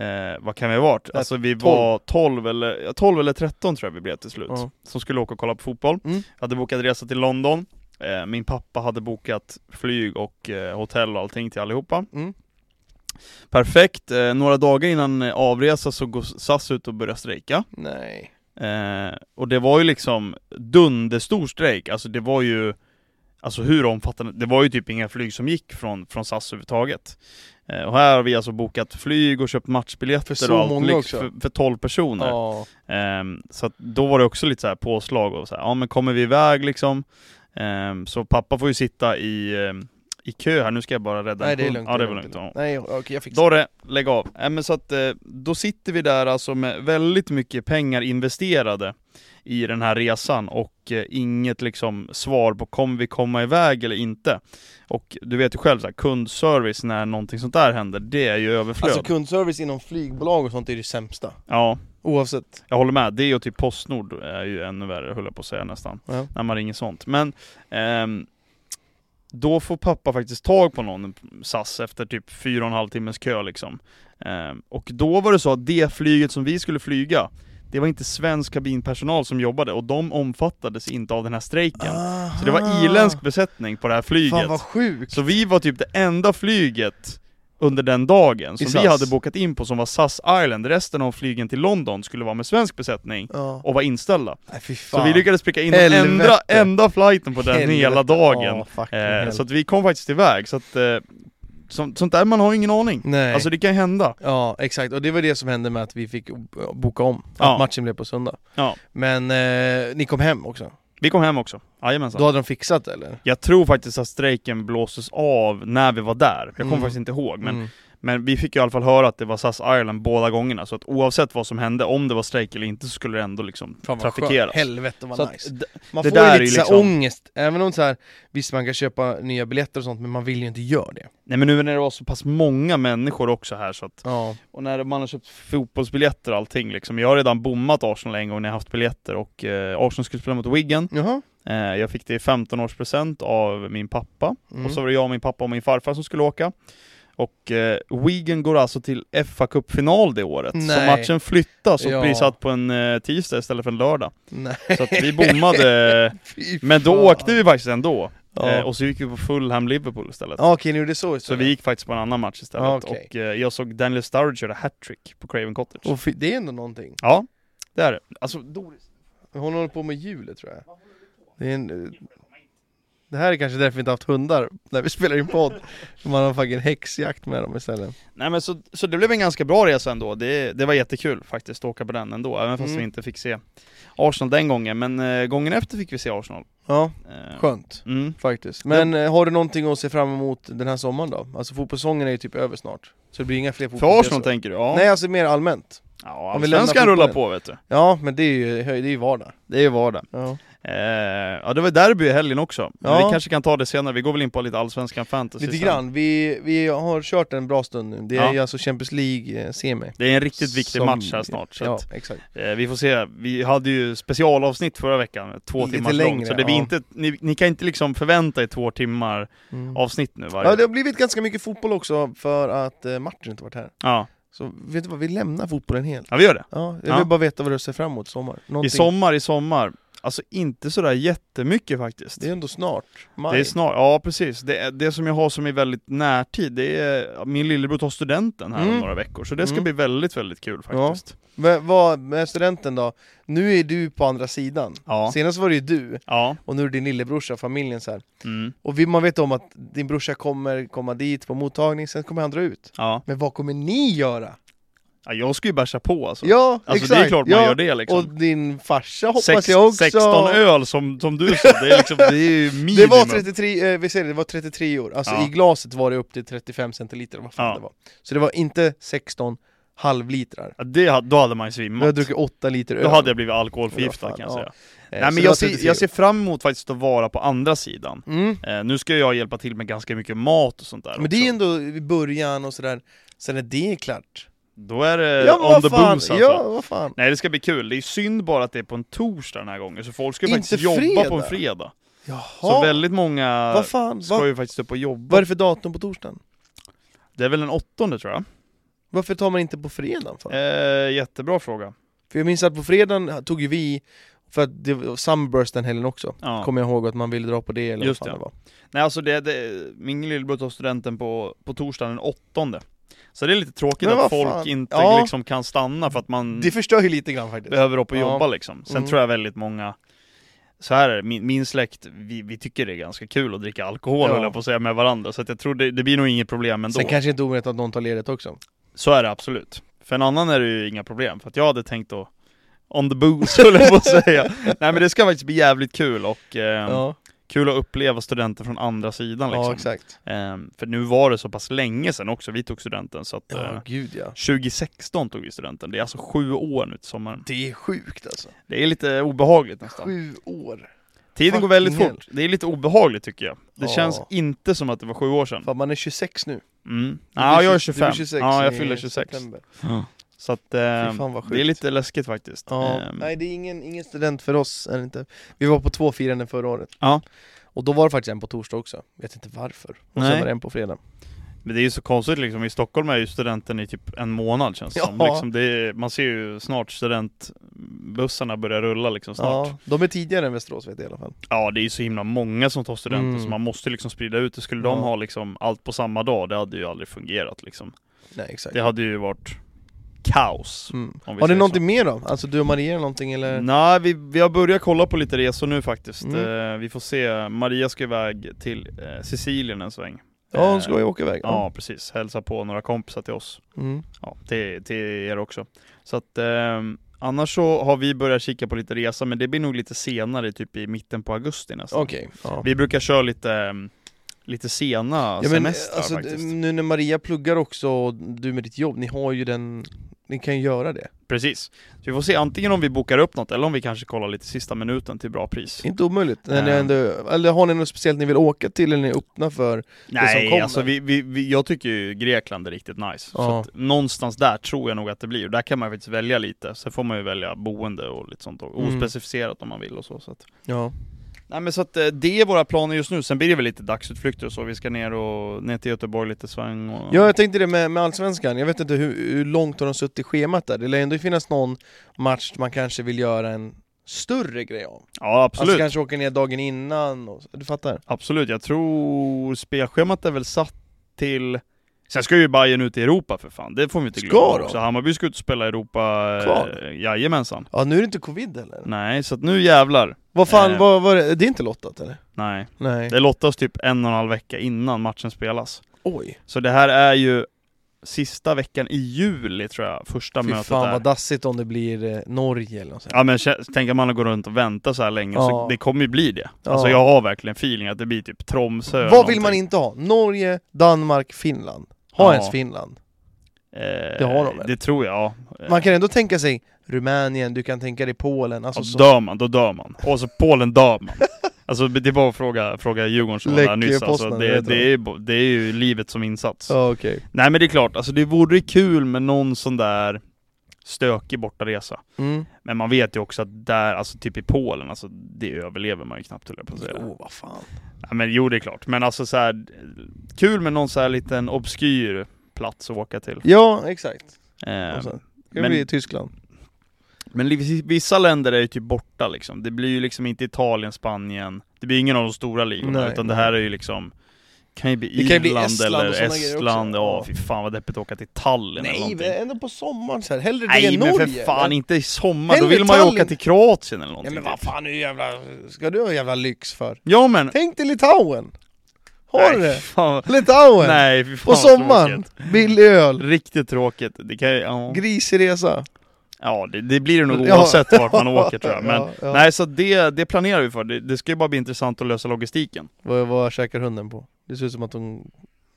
[SPEAKER 2] eh, Vad kan vi ha varit?
[SPEAKER 1] Nej,
[SPEAKER 2] Alltså vi
[SPEAKER 1] 12.
[SPEAKER 2] var 12 eller, ja, 12 eller 13 tror jag vi blev till slut
[SPEAKER 1] Ja.
[SPEAKER 2] Som skulle åka och kolla på fotboll
[SPEAKER 1] Mm.
[SPEAKER 2] Hade bokat resa till London eh, Min pappa hade bokat flyg och eh, hotell och allting till allihopa
[SPEAKER 1] Mm.
[SPEAKER 2] Perfekt, eh, några dagar innan eh, avresa så går SAS ut och börjar strejka
[SPEAKER 1] Nej.
[SPEAKER 2] eh, Och det var ju liksom dunderstor strejk, alltså det var ju Alltså hur omfattande, det var ju typ inga flyg som gick från, från SAS överhuvudtaget eh, Och här har vi alltså bokat flyg och köpt matchbiljetter
[SPEAKER 1] För så
[SPEAKER 2] och allt
[SPEAKER 1] många
[SPEAKER 2] lyx
[SPEAKER 1] också.
[SPEAKER 2] För, för 12 personer
[SPEAKER 1] Ja.
[SPEAKER 2] Ehm, Så att då var det också lite så här påslag och så här, ja men kommer vi iväg liksom Ehm, så pappa får ju sitta i, ehm, i kö här, nu ska jag bara rädda
[SPEAKER 1] Nej
[SPEAKER 2] en
[SPEAKER 1] det är
[SPEAKER 2] hund.
[SPEAKER 1] lugnt.
[SPEAKER 2] Ja, det var lugnt. ja.
[SPEAKER 1] Nej okej, jag fixar
[SPEAKER 2] Dorre, lägg av. Nej, men så att, eh, då sitter vi där alltså med väldigt mycket pengar investerade i den här resan och eh, inget liksom svar på kommer vi komma iväg eller inte. Och du vet ju själv, så här, kundservice när någonting sånt där händer, det är ju överflöd.
[SPEAKER 1] Alltså kundservice inom flygbolag och sånt är det sämsta.
[SPEAKER 2] ja,
[SPEAKER 1] Oavsett.
[SPEAKER 2] jag håller med. Det är ju typ Postnord är ju ännu värre, höll jag på att säga nästan.
[SPEAKER 1] Ja.
[SPEAKER 2] när man ringer sånt. Men ehm, då får pappa faktiskt tag på någon SAS efter typ fyra och en halv timmes kö liksom. Ehm, och då var det så att det flyget som vi skulle flyga, det var inte svensk kabinpersonal som jobbade och de omfattades inte av den här strejken. Så det var irländsk besättning på det här
[SPEAKER 1] Ah. Fan
[SPEAKER 2] flyget.
[SPEAKER 1] vad sjukt!
[SPEAKER 2] Så vi var typ det enda flyget under den dagen som
[SPEAKER 1] I
[SPEAKER 2] vi
[SPEAKER 1] SAS.
[SPEAKER 2] hade bokat in på som var SAS Island. Resten av flygen till London skulle vara med svensk besättning
[SPEAKER 1] Ja.
[SPEAKER 2] och var inställda.
[SPEAKER 1] Nej fy
[SPEAKER 2] Så
[SPEAKER 1] fan.
[SPEAKER 2] vi lyckades pricka in den
[SPEAKER 1] Helvete.
[SPEAKER 2] enda, enda flighten på den
[SPEAKER 1] Helvete.
[SPEAKER 2] hela dagen.
[SPEAKER 1] Ja, fucking
[SPEAKER 2] eh,
[SPEAKER 1] hell.
[SPEAKER 2] så att vi kom faktiskt iväg, så att eh, sånt, sånt där man har ingen aning.
[SPEAKER 1] Nej.
[SPEAKER 2] Alltså det kan hända.
[SPEAKER 1] Ja, exakt. Och det var det som hände med att vi fick o- boka om. Att
[SPEAKER 2] Ja.
[SPEAKER 1] matchen blev på söndag.
[SPEAKER 2] Ja.
[SPEAKER 1] Men eh, ni kom hem också?
[SPEAKER 2] Vi kom hem också, jajamensan.
[SPEAKER 1] Då hade de fixat det, eller?
[SPEAKER 2] Jag tror faktiskt att strejken blåses av när vi var där. Jag kommer
[SPEAKER 1] Mm.
[SPEAKER 2] faktiskt inte ihåg, men,
[SPEAKER 1] Mm.
[SPEAKER 2] men vi fick ju i alla fall höra att det var SAS Ireland båda gångerna. Så att oavsett vad som hände, om det var strejk eller inte, så skulle det ändå liksom
[SPEAKER 1] Fan vad
[SPEAKER 2] trafikeras.
[SPEAKER 1] skönt. Helvete
[SPEAKER 2] Så
[SPEAKER 1] vad
[SPEAKER 2] att
[SPEAKER 1] nice.
[SPEAKER 2] d-
[SPEAKER 1] Man
[SPEAKER 2] det
[SPEAKER 1] får
[SPEAKER 2] där är
[SPEAKER 1] ju
[SPEAKER 2] ju
[SPEAKER 1] lite så här
[SPEAKER 2] liksom-
[SPEAKER 1] ångest, även om så här, visst man kan köpa nya biljetter och sånt men man vill ju inte göra det.
[SPEAKER 2] nej men nu när det var så pass många människor också här så att
[SPEAKER 1] Ja.
[SPEAKER 2] Och när man har köpt fotbollsbiljetter och allting liksom. Jag har redan bommat Arsenal en gång när jag haft biljetter och eh, Arsenal skulle spela mot Wigan.
[SPEAKER 1] Jaha.
[SPEAKER 2] Eh, jag fick det i 15-årspresent av min pappa.
[SPEAKER 1] Mm.
[SPEAKER 2] Och så var det jag, min pappa och min farfar som skulle åka. Och eh, Wigan går alltså till fa Cup-final det året. Så
[SPEAKER 1] Nej.
[SPEAKER 2] matchen flyttas och
[SPEAKER 1] Ja.
[SPEAKER 2] blir satt på en eh, tisdag istället för en lördag.
[SPEAKER 1] Mm. Nej.
[SPEAKER 2] Så att vi bommade.
[SPEAKER 1] Fy
[SPEAKER 2] Men då
[SPEAKER 1] fan.
[SPEAKER 2] åkte vi faktiskt ändå.
[SPEAKER 1] Ja.
[SPEAKER 2] Eh, och så gick vi på Fulham-Liverpool istället.
[SPEAKER 1] Ja, Okej, ni gjorde så
[SPEAKER 2] Så vi gick faktiskt på en annan match istället.
[SPEAKER 1] Ja, okej.
[SPEAKER 2] Och eh, jag såg Daniel Sturridge göra hattrick på Craven Cottage.
[SPEAKER 1] Och fi- det är ändå någonting.
[SPEAKER 2] Ja, det är det. Alltså, Doris.
[SPEAKER 1] Hon håller på med hjulet tror jag. Det, är en, eh, det här är kanske därför vi inte haft hundar när vi spelar in podd. Man har fucking häxjakt med dem istället.
[SPEAKER 2] Nej men så, så det blev en ganska bra resa ändå. Det, det var jättekul faktiskt att åka på den ändå, även fast
[SPEAKER 1] Mm.
[SPEAKER 2] vi inte fick se Arsenal den gången. Men eh, gången efter fick vi se Arsenal.
[SPEAKER 1] Ja,
[SPEAKER 2] Eh,
[SPEAKER 1] skönt.
[SPEAKER 2] Mm.
[SPEAKER 1] Faktiskt. Men eh, har du någonting att se fram emot den här sommaren då? Alltså fotbollssäsongen är ju typ över snart. Så det blir inga fler
[SPEAKER 2] För
[SPEAKER 1] fotbollsresor.
[SPEAKER 2] Arsenal tänker du? Ja.
[SPEAKER 1] Nej, alltså mer allmänt.
[SPEAKER 2] ja
[SPEAKER 1] Om vi lämnar
[SPEAKER 2] Allsvenskan rullar
[SPEAKER 1] fotbollen.
[SPEAKER 2] på vet du.
[SPEAKER 1] Ja, men det är ju, det är ju vardag.
[SPEAKER 2] Det är ju vardag.
[SPEAKER 1] Ja.
[SPEAKER 2] Eh, ja det var derby i helgen också. Men
[SPEAKER 1] Ja.
[SPEAKER 2] Vi kanske kan ta det senare, vi går väl in på lite Allsvenskan fantasy
[SPEAKER 1] Lite
[SPEAKER 2] sen.
[SPEAKER 1] grann. Vi, vi har kört en bra stund nu. Det är
[SPEAKER 2] Ja.
[SPEAKER 1] ju alltså Champions League-semi.
[SPEAKER 2] Det är en riktigt viktig match här snart. Så
[SPEAKER 1] Ja,
[SPEAKER 2] att,
[SPEAKER 1] exakt.
[SPEAKER 2] eh, vi får se. Vi hade ju specialavsnitt förra veckan, två
[SPEAKER 1] Lite
[SPEAKER 2] timmar
[SPEAKER 1] längre,
[SPEAKER 2] långt. Så det blir
[SPEAKER 1] ja.
[SPEAKER 2] inte, ni, ni kan inte liksom förvänta er två timmar
[SPEAKER 1] Mm.
[SPEAKER 2] avsnitt nu varje
[SPEAKER 1] Ja, det har blivit ganska mycket fotboll också för att eh, Martin inte varit här.
[SPEAKER 2] Ja,
[SPEAKER 1] Så vet du vad, vi lämnar fotbollen helt.
[SPEAKER 2] ja vi gör det.
[SPEAKER 1] Ja, jag vill
[SPEAKER 2] Ja.
[SPEAKER 1] bara veta vad du ser fram emot i sommar.
[SPEAKER 2] I
[SPEAKER 1] Någonting.
[SPEAKER 2] sommar, i sommar. Alltså inte sådär jättemycket faktiskt.
[SPEAKER 1] Det är ändå snart. Maj.
[SPEAKER 2] Det är snart, ja precis. Det, det som jag har som är väldigt närtid, det är min lillebror tar studenten här om
[SPEAKER 1] Mm.
[SPEAKER 2] några veckor. Så det ska
[SPEAKER 1] Mm.
[SPEAKER 2] bli väldigt, väldigt kul
[SPEAKER 1] Ja.
[SPEAKER 2] faktiskt.
[SPEAKER 1] Men vad med studenten då? Nu är du på andra sidan.
[SPEAKER 2] Ja.
[SPEAKER 1] Senast var det ju du,
[SPEAKER 2] Ja.
[SPEAKER 1] och nu är det din lillebrorsa och familjen så här.
[SPEAKER 2] Mm.
[SPEAKER 1] Och vi, man vet om att din brorsa kommer komma dit på mottagning, sen kommer han dra ut.
[SPEAKER 2] ja.
[SPEAKER 1] Men vad kommer ni göra?
[SPEAKER 2] ja. Jag ska ju bärsa på alltså.
[SPEAKER 1] Ja,
[SPEAKER 2] alltså
[SPEAKER 1] exakt!
[SPEAKER 2] det är klart man
[SPEAKER 1] ja.
[SPEAKER 2] gör det liksom.
[SPEAKER 1] Och din farsa hoppas
[SPEAKER 2] Sex-
[SPEAKER 1] jag också...
[SPEAKER 2] 16 öl som, som du sa, det är liksom, det är ju minimum.
[SPEAKER 1] Det var 33, eh, vi säger det, det var 33 år, alltså
[SPEAKER 2] Ja.
[SPEAKER 1] i glaset var det upp till 35 centiliter, vad fan
[SPEAKER 2] Ja.
[SPEAKER 1] det var Så det var inte 16 halvlitrar
[SPEAKER 2] Ja, det, hade- då hade man ju
[SPEAKER 1] Jag har
[SPEAKER 2] svimmat.
[SPEAKER 1] druckit 8 liter öl
[SPEAKER 2] Då hade jag blivit
[SPEAKER 1] Det
[SPEAKER 2] alkoholförgiftad
[SPEAKER 1] var fan,
[SPEAKER 2] kan jag
[SPEAKER 1] ja.
[SPEAKER 2] säga.
[SPEAKER 1] Eh,
[SPEAKER 2] Nej
[SPEAKER 1] så
[SPEAKER 2] men
[SPEAKER 1] det var
[SPEAKER 2] jag ser,
[SPEAKER 1] 33
[SPEAKER 2] jag ser fram emot faktiskt att vara på andra sidan.
[SPEAKER 1] år. mm.
[SPEAKER 2] Eh, nu ska jag hjälpa till med ganska mycket mat och sånt där
[SPEAKER 1] Men det är
[SPEAKER 2] också.
[SPEAKER 1] ändå i början och sådär, sen är det klart
[SPEAKER 2] Då är det
[SPEAKER 1] Ja men
[SPEAKER 2] Eh, on the
[SPEAKER 1] vad fan,
[SPEAKER 2] booze alltså.
[SPEAKER 1] ja vad fan
[SPEAKER 2] Nej det ska bli kul, det är synd bara att det är på en torsdag den här gången, så folk ska ju
[SPEAKER 1] Inte
[SPEAKER 2] faktiskt jobba
[SPEAKER 1] fredag.
[SPEAKER 2] på en fredag.
[SPEAKER 1] Jaha,
[SPEAKER 2] Så väldigt många
[SPEAKER 1] vad fan,
[SPEAKER 2] ska
[SPEAKER 1] vad,
[SPEAKER 2] ju faktiskt upp och jobba.
[SPEAKER 1] vad är det för datum på torsdagen?
[SPEAKER 2] Det är väl den åttonde tror jag.
[SPEAKER 1] Varför tar man inte på fredagen? För?
[SPEAKER 2] Eh, jättebra fråga.
[SPEAKER 1] för jag minns att på fredagen tog ju vi, för att det var Sunburst den helgen också
[SPEAKER 2] Ja.
[SPEAKER 1] Kommer jag ihåg att man ville dra på det eller
[SPEAKER 2] Just
[SPEAKER 1] vad fan
[SPEAKER 2] det.
[SPEAKER 1] det var
[SPEAKER 2] Nej alltså det, det, min lillebror tar studenten på, på torsdagen den åttonde. Så det är lite tråkigt
[SPEAKER 1] Men
[SPEAKER 2] att
[SPEAKER 1] vad
[SPEAKER 2] folk
[SPEAKER 1] fan.
[SPEAKER 2] inte
[SPEAKER 1] Ja.
[SPEAKER 2] liksom kan stanna för att man
[SPEAKER 1] Det förstör ju lite grann faktiskt
[SPEAKER 2] behöver upp och
[SPEAKER 1] Ja.
[SPEAKER 2] jobba liksom. Sen
[SPEAKER 1] Mm.
[SPEAKER 2] tror jag väldigt många så här är det, min, min släkt, vi, vi tycker det är ganska kul att dricka alkohol
[SPEAKER 1] Ja.
[SPEAKER 2] höll jag på att säga med varandra, så att jag tror det, det blir nog inget problem ändå.
[SPEAKER 1] Sen kanske inte omöjligt att någon tar ledigt också.
[SPEAKER 2] Så är det absolut. För en annan är det ju inga problem, för att jag hade tänkt att on the booze höll jag på att säga. Nej men det ska faktiskt bli jävligt kul och eh,
[SPEAKER 1] Ja.
[SPEAKER 2] Kul att uppleva studenten från andra sidan liksom.
[SPEAKER 1] Ja, exakt.
[SPEAKER 2] Ehm, för nu var det så pass länge sedan också vi tog studenten så att
[SPEAKER 1] Ja,
[SPEAKER 2] eh,
[SPEAKER 1] gud ja.
[SPEAKER 2] 2016 tog vi studenten, det är alltså sju år nu till sommaren.
[SPEAKER 1] Det är sjukt alltså.
[SPEAKER 2] Det är lite obehagligt nästan.
[SPEAKER 1] Sju år.
[SPEAKER 2] Tiden går väldigt
[SPEAKER 1] Fucking
[SPEAKER 2] fort, det är lite obehagligt tycker jag. Det
[SPEAKER 1] Ja.
[SPEAKER 2] känns inte som att det var sju år sedan.
[SPEAKER 1] Fan, man är 26 nu.
[SPEAKER 2] Mm.
[SPEAKER 1] Du
[SPEAKER 2] Ja,
[SPEAKER 1] blir
[SPEAKER 2] jag är
[SPEAKER 1] 20 du
[SPEAKER 2] 25.
[SPEAKER 1] blir 26
[SPEAKER 2] ja, jag
[SPEAKER 1] i
[SPEAKER 2] fyller 26.
[SPEAKER 1] september.
[SPEAKER 2] Så att, eh,
[SPEAKER 1] Fy fan vad sjukt.
[SPEAKER 2] det är lite läskigt faktiskt.
[SPEAKER 1] Ja,
[SPEAKER 2] Ehm,
[SPEAKER 1] nej det är ingen, ingen student för oss, är det inte. Vi var på två firanden förra året.
[SPEAKER 2] Ja.
[SPEAKER 1] Och då var det faktiskt en på torsdag också, vet inte varför. Och sen
[SPEAKER 2] Nej.
[SPEAKER 1] var det en på fredag.
[SPEAKER 2] Men det är ju så konstigt liksom, i Stockholm är ju studenten i typ en månad känns det
[SPEAKER 1] Ja.
[SPEAKER 2] som. Liksom det är, man ser ju snart studentbussarna börjar rulla liksom snart. Ja,
[SPEAKER 1] Ja, de är tidigare än Västerås vet jag i alla fall.
[SPEAKER 2] det är ju så himla många som tar studenten
[SPEAKER 1] Mm.
[SPEAKER 2] så man måste liksom sprida ut det. Skulle
[SPEAKER 1] Ja.
[SPEAKER 2] de ha liksom allt på samma dag, det hade ju aldrig fungerat liksom.
[SPEAKER 1] Nej exakt.
[SPEAKER 2] Det hade ju varit kaos.
[SPEAKER 1] Mm.
[SPEAKER 2] Om vi
[SPEAKER 1] Har ni
[SPEAKER 2] säger
[SPEAKER 1] någonting mer då? Alltså du och Maria eller någonting eller?
[SPEAKER 2] Nej, vi, vi har börjat kolla på lite resor nu faktiskt.
[SPEAKER 1] Mm.
[SPEAKER 2] Eh, vi får se, Maria ska iväg till eh, Sicilien en sväng.
[SPEAKER 1] Ja hon
[SPEAKER 2] Eh,
[SPEAKER 1] ska ju åka iväg.
[SPEAKER 2] Ja, precis. Hälsa på några kompisar till oss.
[SPEAKER 1] Mm.
[SPEAKER 2] ja, till, till er också. Så att ehm, annars så har vi börjat kika på lite resa, men det blir nog lite senare, typ i mitten på augusti nästan.
[SPEAKER 1] Okej. Ja.
[SPEAKER 2] Vi brukar köra lite, ehm, lite sena
[SPEAKER 1] Ja, men,
[SPEAKER 2] semestrar
[SPEAKER 1] alltså,
[SPEAKER 2] faktiskt.
[SPEAKER 1] nu när Maria pluggar också och du med ditt jobb, ni har ju den, ni kan ju göra det.
[SPEAKER 2] Precis. Så vi får se antingen om vi bokar upp något eller om vi kanske kollar lite sista minuten till bra pris.
[SPEAKER 1] Inte omöjligt. När ni
[SPEAKER 2] Nej.
[SPEAKER 1] ändå, eller har ni något speciellt ni vill åka till eller ni är öppna för?
[SPEAKER 2] Nej,
[SPEAKER 1] kommer.
[SPEAKER 2] alltså vi, vi, vi, jag tycker ju Grekland är riktigt nice. Så
[SPEAKER 1] Ja.
[SPEAKER 2] att någonstans där tror jag nog att det blir. Och där kan man faktiskt välja lite. Sen får man ju välja boende och lite sånt. Och
[SPEAKER 1] Mm.
[SPEAKER 2] ospecificerat om man vill och så. så att
[SPEAKER 1] Ja.
[SPEAKER 2] Nej men så att eh, det är våra planer just nu, sen blir det väl lite dagsutflykter och så, vi ska ner och ner till Göteborg lite sväng och...
[SPEAKER 1] Ja, jag tänkte det med, med Allsvenskan. Jag vet inte hur, hur långt har de suttit i schemat där. Det lär ändå finnas någon match man kanske vill göra en större grej av.
[SPEAKER 2] Ja, absolut,
[SPEAKER 1] Alltså kanske åka ner dagen innan och så. Du fattar?
[SPEAKER 2] absolut, jag tror spelschemat är väl satt till... Sen ska ju Bayern ut i Europa för fan, det får vi inte
[SPEAKER 1] Ska
[SPEAKER 2] glömma
[SPEAKER 1] de?
[SPEAKER 2] också. Hammarby ska ut och spela i Europa, eh,
[SPEAKER 1] Kval?
[SPEAKER 2] jajamensan.
[SPEAKER 1] Ja, nu är det inte covid heller.
[SPEAKER 2] Nej, så att nu jävlar.
[SPEAKER 1] Vad fan,
[SPEAKER 2] Eh.
[SPEAKER 1] vad, vad, det är inte lottat eller?
[SPEAKER 2] Nej,
[SPEAKER 1] Nej.
[SPEAKER 2] det lottas typ en och en halv vecka innan matchen spelas.
[SPEAKER 1] Oj.
[SPEAKER 2] Så det här är ju sista veckan i juli tror jag, första
[SPEAKER 1] Fy
[SPEAKER 2] mötet
[SPEAKER 1] fan
[SPEAKER 2] är.
[SPEAKER 1] vad dassigt om det blir eh, Norge eller något sånt.
[SPEAKER 2] Ja men kä- tänk att man går runt och väntar så här länge,
[SPEAKER 1] Ja.
[SPEAKER 2] så det kommer ju bli det.
[SPEAKER 1] Ja.
[SPEAKER 2] Alltså jag har verkligen feeling att det blir typ Tromsö eller
[SPEAKER 1] Vad vill man
[SPEAKER 2] någonting.
[SPEAKER 1] inte ha? Norge, Danmark, Finland. Ha
[SPEAKER 2] Ja.
[SPEAKER 1] ens Finland.
[SPEAKER 2] Eh,
[SPEAKER 1] Det har de väl?
[SPEAKER 2] Det tror jag, ja.
[SPEAKER 1] Man kan ändå tänka sig Rumänien, du kan tänka dig Polen, alltså
[SPEAKER 2] Och
[SPEAKER 1] så.
[SPEAKER 2] dör man, då dör man. Och så Polen dör man. Alltså det är bara att fråga, fråga Djurgården som var
[SPEAKER 1] Läcker
[SPEAKER 2] där nyss, alltså,
[SPEAKER 1] Poznan,
[SPEAKER 2] det,
[SPEAKER 1] vet du.
[SPEAKER 2] det, är, bo- det är ju livet som insats.
[SPEAKER 1] Ja, okej.
[SPEAKER 2] Nej men det är klart, alltså det vore kul med någon sån där stökig bortaresa.
[SPEAKER 1] Mm.
[SPEAKER 2] Men man vet ju också att där, alltså typ i Polen, alltså det överlever man ju knappt höll jag på att säga.
[SPEAKER 1] Jo, vad fan.
[SPEAKER 2] Ja, men jo det är klart, men alltså så här, kul med någon så här liten obskyr plats att ååka till.
[SPEAKER 1] Ja, exakt. Och
[SPEAKER 2] Eh,
[SPEAKER 1] sen Ska
[SPEAKER 2] men-
[SPEAKER 1] vi i Tyskland?
[SPEAKER 2] men li- vissa länder är ju typ borta liksom. Det blir ju liksom inte Italien, Spanien, det blir ingen av de stora ligorna
[SPEAKER 1] Nej,
[SPEAKER 2] utan
[SPEAKER 1] nej.
[SPEAKER 2] det här är ju liksom kan ju bli
[SPEAKER 1] Det kan ju bli
[SPEAKER 2] Irland
[SPEAKER 1] Estland och
[SPEAKER 2] eller
[SPEAKER 1] såna grejer
[SPEAKER 2] Estland,
[SPEAKER 1] också.
[SPEAKER 2] ja
[SPEAKER 1] Ja.
[SPEAKER 2] fy fan vad deppigt att åka till Tallinn eller
[SPEAKER 1] Nej,
[SPEAKER 2] någonting.
[SPEAKER 1] men ändå på sommaren så här. hellre det
[SPEAKER 2] Nej
[SPEAKER 1] än
[SPEAKER 2] men
[SPEAKER 1] Norge.
[SPEAKER 2] för fan
[SPEAKER 1] eller?
[SPEAKER 2] inte i sommar, då
[SPEAKER 1] Hellre
[SPEAKER 2] vill man ju
[SPEAKER 1] Tallinn.
[SPEAKER 2] åka till Kroatien eller
[SPEAKER 1] Ja
[SPEAKER 2] någonting.
[SPEAKER 1] men vad fan, är ju jävla... ska du ha jävla lyx för?
[SPEAKER 2] Ja men!
[SPEAKER 1] Tänk dig Litauen! Har
[SPEAKER 2] Nej,
[SPEAKER 1] du det?
[SPEAKER 2] fan. vad-
[SPEAKER 1] Litauen!
[SPEAKER 2] Nej fy fan
[SPEAKER 1] på
[SPEAKER 2] vad
[SPEAKER 1] sommaren!
[SPEAKER 2] tråkigt.
[SPEAKER 1] Billig öl!
[SPEAKER 2] Riktigt tråkigt, det kan ju, ja.
[SPEAKER 1] Grisig resa!
[SPEAKER 2] Ja, det, det blir det nog
[SPEAKER 1] Ja.
[SPEAKER 2] oavsett vart man åker tror jag. Men,
[SPEAKER 1] Ja, ja.
[SPEAKER 2] Nej, så det, det planerar vi för. Det, det ska ju bara bli intressant att lösa logistiken.
[SPEAKER 1] Vad, vad käkar hunden på? Det ser ut som att hon...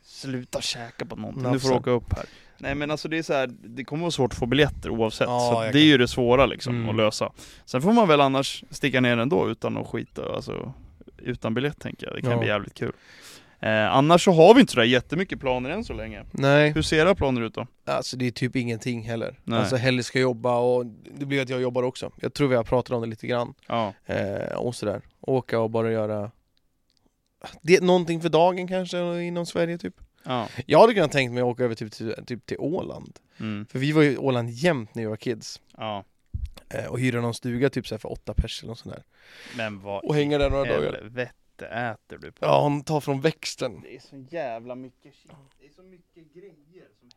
[SPEAKER 2] Sluta käka på någonting, du
[SPEAKER 1] Nafsa.
[SPEAKER 2] får åka upp här. Nej men alltså det är så här, det kommer vara svårt att få biljetter oavsett.
[SPEAKER 1] Ja,
[SPEAKER 2] så
[SPEAKER 1] jag
[SPEAKER 2] det
[SPEAKER 1] kan-
[SPEAKER 2] är ju det svåra liksom
[SPEAKER 1] Mm.
[SPEAKER 2] att lösa. Sen får man väl annars sticka ner ändå utan att skita, alltså utan biljett tänker jag. Det kan
[SPEAKER 1] Ja.
[SPEAKER 2] bli jävligt kul. Eh, annars så har vi inte sådär jättemycket planer än så länge.
[SPEAKER 1] Nej,
[SPEAKER 2] Hur ser era planer ut då?
[SPEAKER 1] alltså det är typ ingenting heller.
[SPEAKER 2] Nej.
[SPEAKER 1] Alltså Helle ska jobba och det blir att jag jobbar också. Jag tror vi har pratat om det lite grann.
[SPEAKER 2] Ja,
[SPEAKER 1] Eh, och sådär. Åka och bara göra det, någonting för dagen kanske inom Sverige typ.
[SPEAKER 2] ja.
[SPEAKER 1] Jag hade kunnat tänkt mig att åka över typ till, typ till Åland.
[SPEAKER 2] Mm.
[SPEAKER 1] För vi var ju i Åland jämt när vi var kids.
[SPEAKER 2] ja.
[SPEAKER 1] Eh, och hyra någon stuga typ så här för åtta pers eller något sånt där.
[SPEAKER 2] Men vad
[SPEAKER 1] Och hänga där några dagar.
[SPEAKER 2] helvete äter du på?
[SPEAKER 1] Ja, hon tar från växten.
[SPEAKER 2] Det är så jävla mycket shit. Det är så mycket grejer som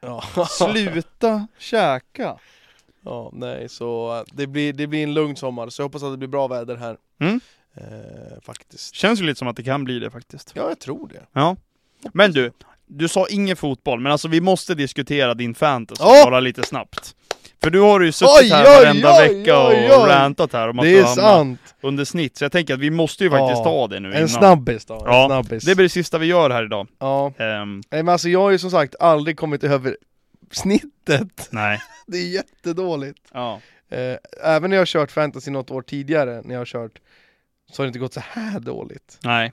[SPEAKER 2] händer.
[SPEAKER 1] Ja.
[SPEAKER 2] Sluta käka!
[SPEAKER 1] ja, nej så eh, det blir, det blir en lugn sommar. Så jag hoppas att det blir bra väder här.
[SPEAKER 2] Mm.
[SPEAKER 1] Eh, faktiskt.
[SPEAKER 2] Känns ju lite som att det kan bli det faktiskt.
[SPEAKER 1] Ja, jag tror det.
[SPEAKER 2] Ja. Men du, du sa ingen fotboll, men alltså vi måste diskutera din fantasy
[SPEAKER 1] Ja.
[SPEAKER 2] bara lite snabbt. För du har ju
[SPEAKER 1] Oj,
[SPEAKER 2] suttit här
[SPEAKER 1] oj,
[SPEAKER 2] varenda
[SPEAKER 1] oj,
[SPEAKER 2] vecka
[SPEAKER 1] oj,
[SPEAKER 2] och
[SPEAKER 1] oj.
[SPEAKER 2] rantat här om att
[SPEAKER 1] Det
[SPEAKER 2] du
[SPEAKER 1] är
[SPEAKER 2] hamnar
[SPEAKER 1] sant!
[SPEAKER 2] under snitt, så jag tänker att vi måste ju faktiskt
[SPEAKER 1] Ja,
[SPEAKER 2] ta det nu innan.
[SPEAKER 1] En snabbis då, en
[SPEAKER 2] Ja,
[SPEAKER 1] snabbis.
[SPEAKER 2] Det blir det sista vi gör här idag.
[SPEAKER 1] Ja.
[SPEAKER 2] Ehm,
[SPEAKER 1] Nej men alltså jag har ju som sagt aldrig kommit över snittet.
[SPEAKER 2] nej.
[SPEAKER 1] Det är jättedåligt.
[SPEAKER 2] Ja.
[SPEAKER 1] Eh, även när jag har kört fantasy något år tidigare, när jag har kört, så har det inte gått så här dåligt.
[SPEAKER 2] Nej.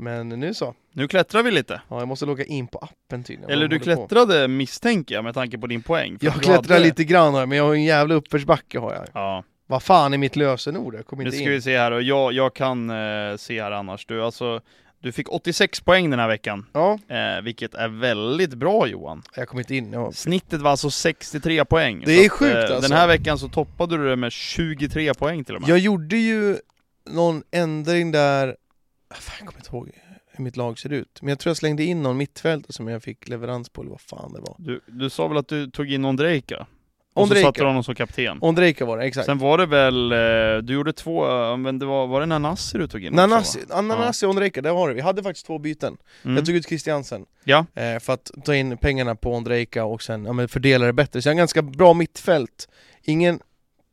[SPEAKER 1] Men nu så.
[SPEAKER 2] Nu klättrar vi lite.
[SPEAKER 1] Ja, jag måste logga in på appen tydligen.
[SPEAKER 2] Eller
[SPEAKER 1] Vad
[SPEAKER 2] du
[SPEAKER 1] håller på?
[SPEAKER 2] klättrade misstänker jag med tanke på din poäng. för
[SPEAKER 1] Jag
[SPEAKER 2] att du
[SPEAKER 1] klättrar
[SPEAKER 2] hade-
[SPEAKER 1] lite grann här, men jag har ju en jävla uppförsbacke har jag.
[SPEAKER 2] Ja.
[SPEAKER 1] Vad fan är mitt lösenord? Jag kommer
[SPEAKER 2] Nu
[SPEAKER 1] inte
[SPEAKER 2] ska
[SPEAKER 1] in.
[SPEAKER 2] vi se här och jag, jag kan eh, se här annars. Du, alltså, du fick 86 poäng den här veckan,
[SPEAKER 1] Ja,
[SPEAKER 2] eh, vilket är väldigt bra Johan.
[SPEAKER 1] jag kommer inte in. Jag...
[SPEAKER 2] Snittet var alltså 63 poäng.
[SPEAKER 1] Det
[SPEAKER 2] Så
[SPEAKER 1] är
[SPEAKER 2] att, eh,
[SPEAKER 1] sjukt, alltså.
[SPEAKER 2] Den här veckan så toppade du det med 23 poäng till och med.
[SPEAKER 1] jag gjorde ju någon ändring där, Ah, fan, jag kommer inte ihåg hur mitt lag ser ut. Men jag tror jag slängde in någon mittfältare som jag fick leverans på, eller vad fan det var.
[SPEAKER 2] Du, du sa väl att du tog in Ondrejka? Och så satte du
[SPEAKER 1] Ondrejka.
[SPEAKER 2] honom som kapten.
[SPEAKER 1] Ondrejka var det, exakt.
[SPEAKER 2] Sen var det väl, eh, du gjorde två, eh, men det var, var det Nanasi du tog in? också,
[SPEAKER 1] Nanasi,
[SPEAKER 2] va?
[SPEAKER 1] Nanasi och Ondrejka, där har du. Vi hade faktiskt två byten.
[SPEAKER 2] Mm.
[SPEAKER 1] Jag tog ut Christiansen
[SPEAKER 2] Ja.
[SPEAKER 1] eh, för att ta in pengarna på Ondrejka och sen ja, men fördela det bättre. Så jag har ganska bra mittfält. Ingen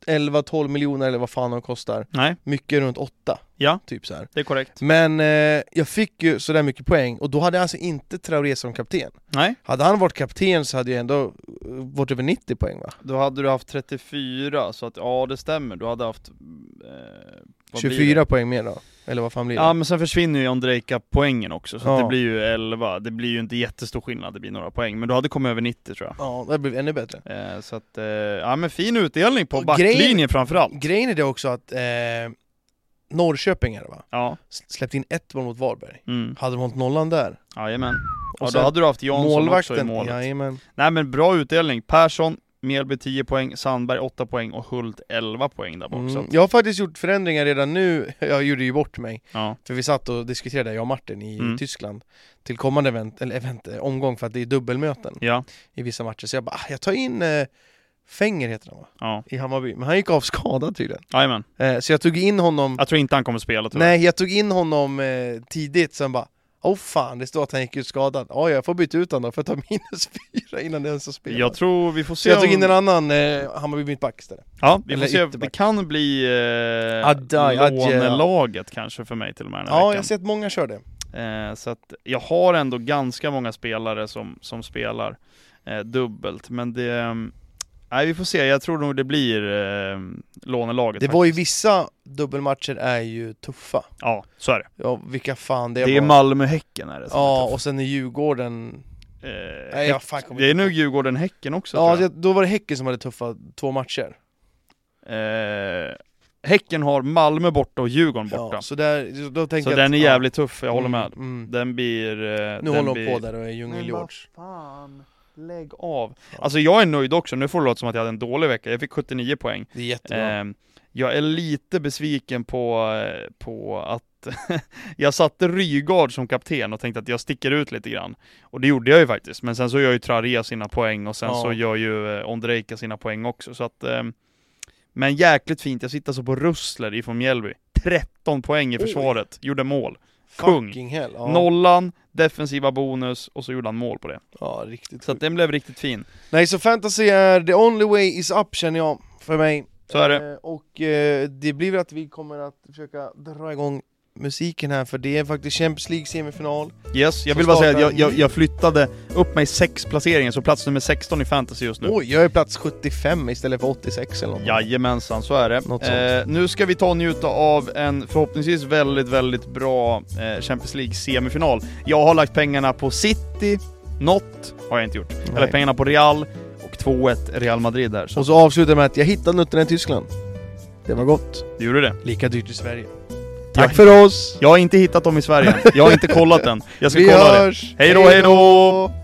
[SPEAKER 1] 11-12 miljoner eller vad fan de kostar.
[SPEAKER 2] Nej,
[SPEAKER 1] Mycket runt 8.
[SPEAKER 2] Ja.
[SPEAKER 1] Typ så här.
[SPEAKER 2] det är korrekt.
[SPEAKER 1] Men eh, jag fick ju sådär mycket poäng och då hade jag alltså inte Traoré som kapten.
[SPEAKER 2] Nej,
[SPEAKER 1] Hade han varit kapten så hade jag ändå eh, varit över 90 poäng va?
[SPEAKER 2] då hade du haft 34, så att ja det stämmer, du hade haft... Eh, vad blir det?
[SPEAKER 1] 24 poäng mer då. Eller vad fan blir det?
[SPEAKER 2] Ja men sen försvinner ju Ondrejka poängen också, så att
[SPEAKER 1] Ja.
[SPEAKER 2] det blir ju 11, det blir ju inte jättestor skillnad, det blir några poäng, men du hade kommit över 90 tror jag.
[SPEAKER 1] ja det blev ännu bättre.
[SPEAKER 2] Eh, så att, eh, ja men fin utdelning på
[SPEAKER 1] Och
[SPEAKER 2] backlinjen
[SPEAKER 1] grejen-
[SPEAKER 2] framförallt.
[SPEAKER 1] Grejen är det också att eh, Norrköping är det va?
[SPEAKER 2] Ja,
[SPEAKER 1] S- Släppte in ett mål mot Varberg.
[SPEAKER 2] mm.
[SPEAKER 1] Hade de hållit nollan där?
[SPEAKER 2] jajamän.
[SPEAKER 1] Och
[SPEAKER 2] Ja, då
[SPEAKER 1] sen
[SPEAKER 2] hade du haft Jansson också i
[SPEAKER 1] målvakten,
[SPEAKER 2] målet.
[SPEAKER 1] jajamän.
[SPEAKER 2] Nej men bra utdelning, Persson, Mjällby 10 poäng, Sandberg 8 poäng och Hult 11 poäng där bak. Så
[SPEAKER 1] Mm.
[SPEAKER 2] att,
[SPEAKER 1] Jag har faktiskt gjort förändringar redan nu, jag gjorde ju bort mig.
[SPEAKER 2] ja.
[SPEAKER 1] För vi satt och diskuterade, jag och Martin, i
[SPEAKER 2] Mm.
[SPEAKER 1] Tyskland till kommande event, eller event, eh, omgång för att det är dubbelmöten
[SPEAKER 2] ja,
[SPEAKER 1] i vissa matcher. Så jag bara, ah, jag tar in eh, Fenger heter han va?
[SPEAKER 2] ja,
[SPEAKER 1] I Hammarby. Men han gick av skadad tydligen.
[SPEAKER 2] jajamän.
[SPEAKER 1] Eh, så jag tog in honom,
[SPEAKER 2] Jag tror inte han kommer spela tyvärr.
[SPEAKER 1] nej jag tog in honom eh, tidigt, sen bara Åh fan, det står att han gick ut skadad. Ja, jag får byta ut honom för att ta minus fyra innan det ens har spelat.
[SPEAKER 2] Jag tror vi får
[SPEAKER 1] Så
[SPEAKER 2] se
[SPEAKER 1] jag tog
[SPEAKER 2] om-
[SPEAKER 1] in en annan eh, Hammarby mittback istället.
[SPEAKER 2] Ja, vi får
[SPEAKER 1] Eller
[SPEAKER 2] se. Det
[SPEAKER 1] ytterback.
[SPEAKER 2] kan bli eh,
[SPEAKER 1] Adai, Adje, ja.
[SPEAKER 2] lånelaget kanske för mig till och med den här
[SPEAKER 1] Ja, jag har
[SPEAKER 2] veckan.
[SPEAKER 1] sett många köra det.
[SPEAKER 2] Eh, så att jag har ändå ganska många spelare som, som spelar eh, dubbelt, men det... eh, Nej, vi får se. Jag tror nog det blir eh, lånelaget.
[SPEAKER 1] Det var ju vissa dubbelmatcher är ju tuffa.
[SPEAKER 2] faktiskt. Ja, så är det.
[SPEAKER 1] Ja, vilka fan det,
[SPEAKER 2] Det, är
[SPEAKER 1] var.
[SPEAKER 2] Malmö-Häcken är det som
[SPEAKER 1] Ja,
[SPEAKER 2] är
[SPEAKER 1] och sen är Djurgården...
[SPEAKER 2] tufft. eh,
[SPEAKER 1] Nej, jag
[SPEAKER 2] Häck-
[SPEAKER 1] fan kommer
[SPEAKER 2] Det är
[SPEAKER 1] inte
[SPEAKER 2] nog
[SPEAKER 1] ihåg.
[SPEAKER 2] Djurgården-Häcken också
[SPEAKER 1] Ja,
[SPEAKER 2] tror jag.
[SPEAKER 1] det- då var det Häcken som hade tuffa två matcher.
[SPEAKER 2] Eh, häcken har Malmö borta och Djurgården borta.
[SPEAKER 1] Ja, så där, då tänker
[SPEAKER 2] så
[SPEAKER 1] jag
[SPEAKER 2] den är
[SPEAKER 1] att-
[SPEAKER 2] jävligt tuff, jag håller
[SPEAKER 1] Mm,
[SPEAKER 2] med.
[SPEAKER 1] Mm.
[SPEAKER 2] Den blir... eh,
[SPEAKER 1] Nu
[SPEAKER 2] den
[SPEAKER 1] håller
[SPEAKER 2] blir...
[SPEAKER 1] de
[SPEAKER 2] Mm.
[SPEAKER 1] på där och är djungel
[SPEAKER 2] Men vad
[SPEAKER 1] George.
[SPEAKER 2] fan, lägg av. Alltså jag är nöjd också, nu får det låta som att jag hade en dålig vecka, jag fick 79 poäng.
[SPEAKER 1] Det är jättebra.
[SPEAKER 2] Ehm, jag är lite besviken på, eh, på att jag satte Rygaard som kapten och tänkte att jag sticker ut lite grann. Och det gjorde jag ju faktiskt, men sen så gör ju Traoré sina poäng och sen
[SPEAKER 1] Ja.
[SPEAKER 2] så gör ju eh, Ondrejka sina poäng också. Så att, ehm, men jäkligt fint, jag sitter alltså på Russler ifrån Mjällby. 13 poäng i
[SPEAKER 1] Oj.
[SPEAKER 2] försvaret, gjorde mål. kung.
[SPEAKER 1] Fucking hell. Ja,
[SPEAKER 2] Nollan, defensiva bonus och så gjorde han mål på det.
[SPEAKER 1] ja riktigt.
[SPEAKER 2] Så att den blev riktigt fin.
[SPEAKER 1] Nej, så fantasy är the only way is up känner jag, för mig.
[SPEAKER 2] Så är det.
[SPEAKER 1] Eh, Och eh, det blir väl att vi kommer att försöka dra igång musiken här, för det är faktiskt Champions League semifinal.
[SPEAKER 2] Yes, jag
[SPEAKER 1] Som
[SPEAKER 2] vill bara säga att jag,
[SPEAKER 1] startar-
[SPEAKER 2] jag, jag flyttade upp mig sex placeringar, så plats nummer 16 i fantasy just nu.
[SPEAKER 1] Oj, jag är plats 75 istället för 86 eller något.
[SPEAKER 2] Jajamensan, så är
[SPEAKER 1] Något
[SPEAKER 2] det. Eh,
[SPEAKER 1] sånt.
[SPEAKER 2] nu ska vi ta och njuta av en förhoppningsvis väldigt, väldigt bra eh, Champions League-semifinal. Jag har lagt pengarna på City, något har jag inte gjort. Jag har
[SPEAKER 1] Nej.
[SPEAKER 2] lagt pengarna på Real och 2-1 Real Madrid där. Så
[SPEAKER 1] Och så avslutar jag med att jag hittade nutterna i Tyskland. Det var gott.
[SPEAKER 2] du gjorde det.
[SPEAKER 1] Lika dyrt i Sverige.
[SPEAKER 2] Jag-
[SPEAKER 1] Tack för oss!
[SPEAKER 2] Jag har inte hittat dem i Sverige än. Jag har inte kollat än. Jag ska
[SPEAKER 1] Vi
[SPEAKER 2] kolla det.
[SPEAKER 1] hörs!
[SPEAKER 2] Hej då, hej då!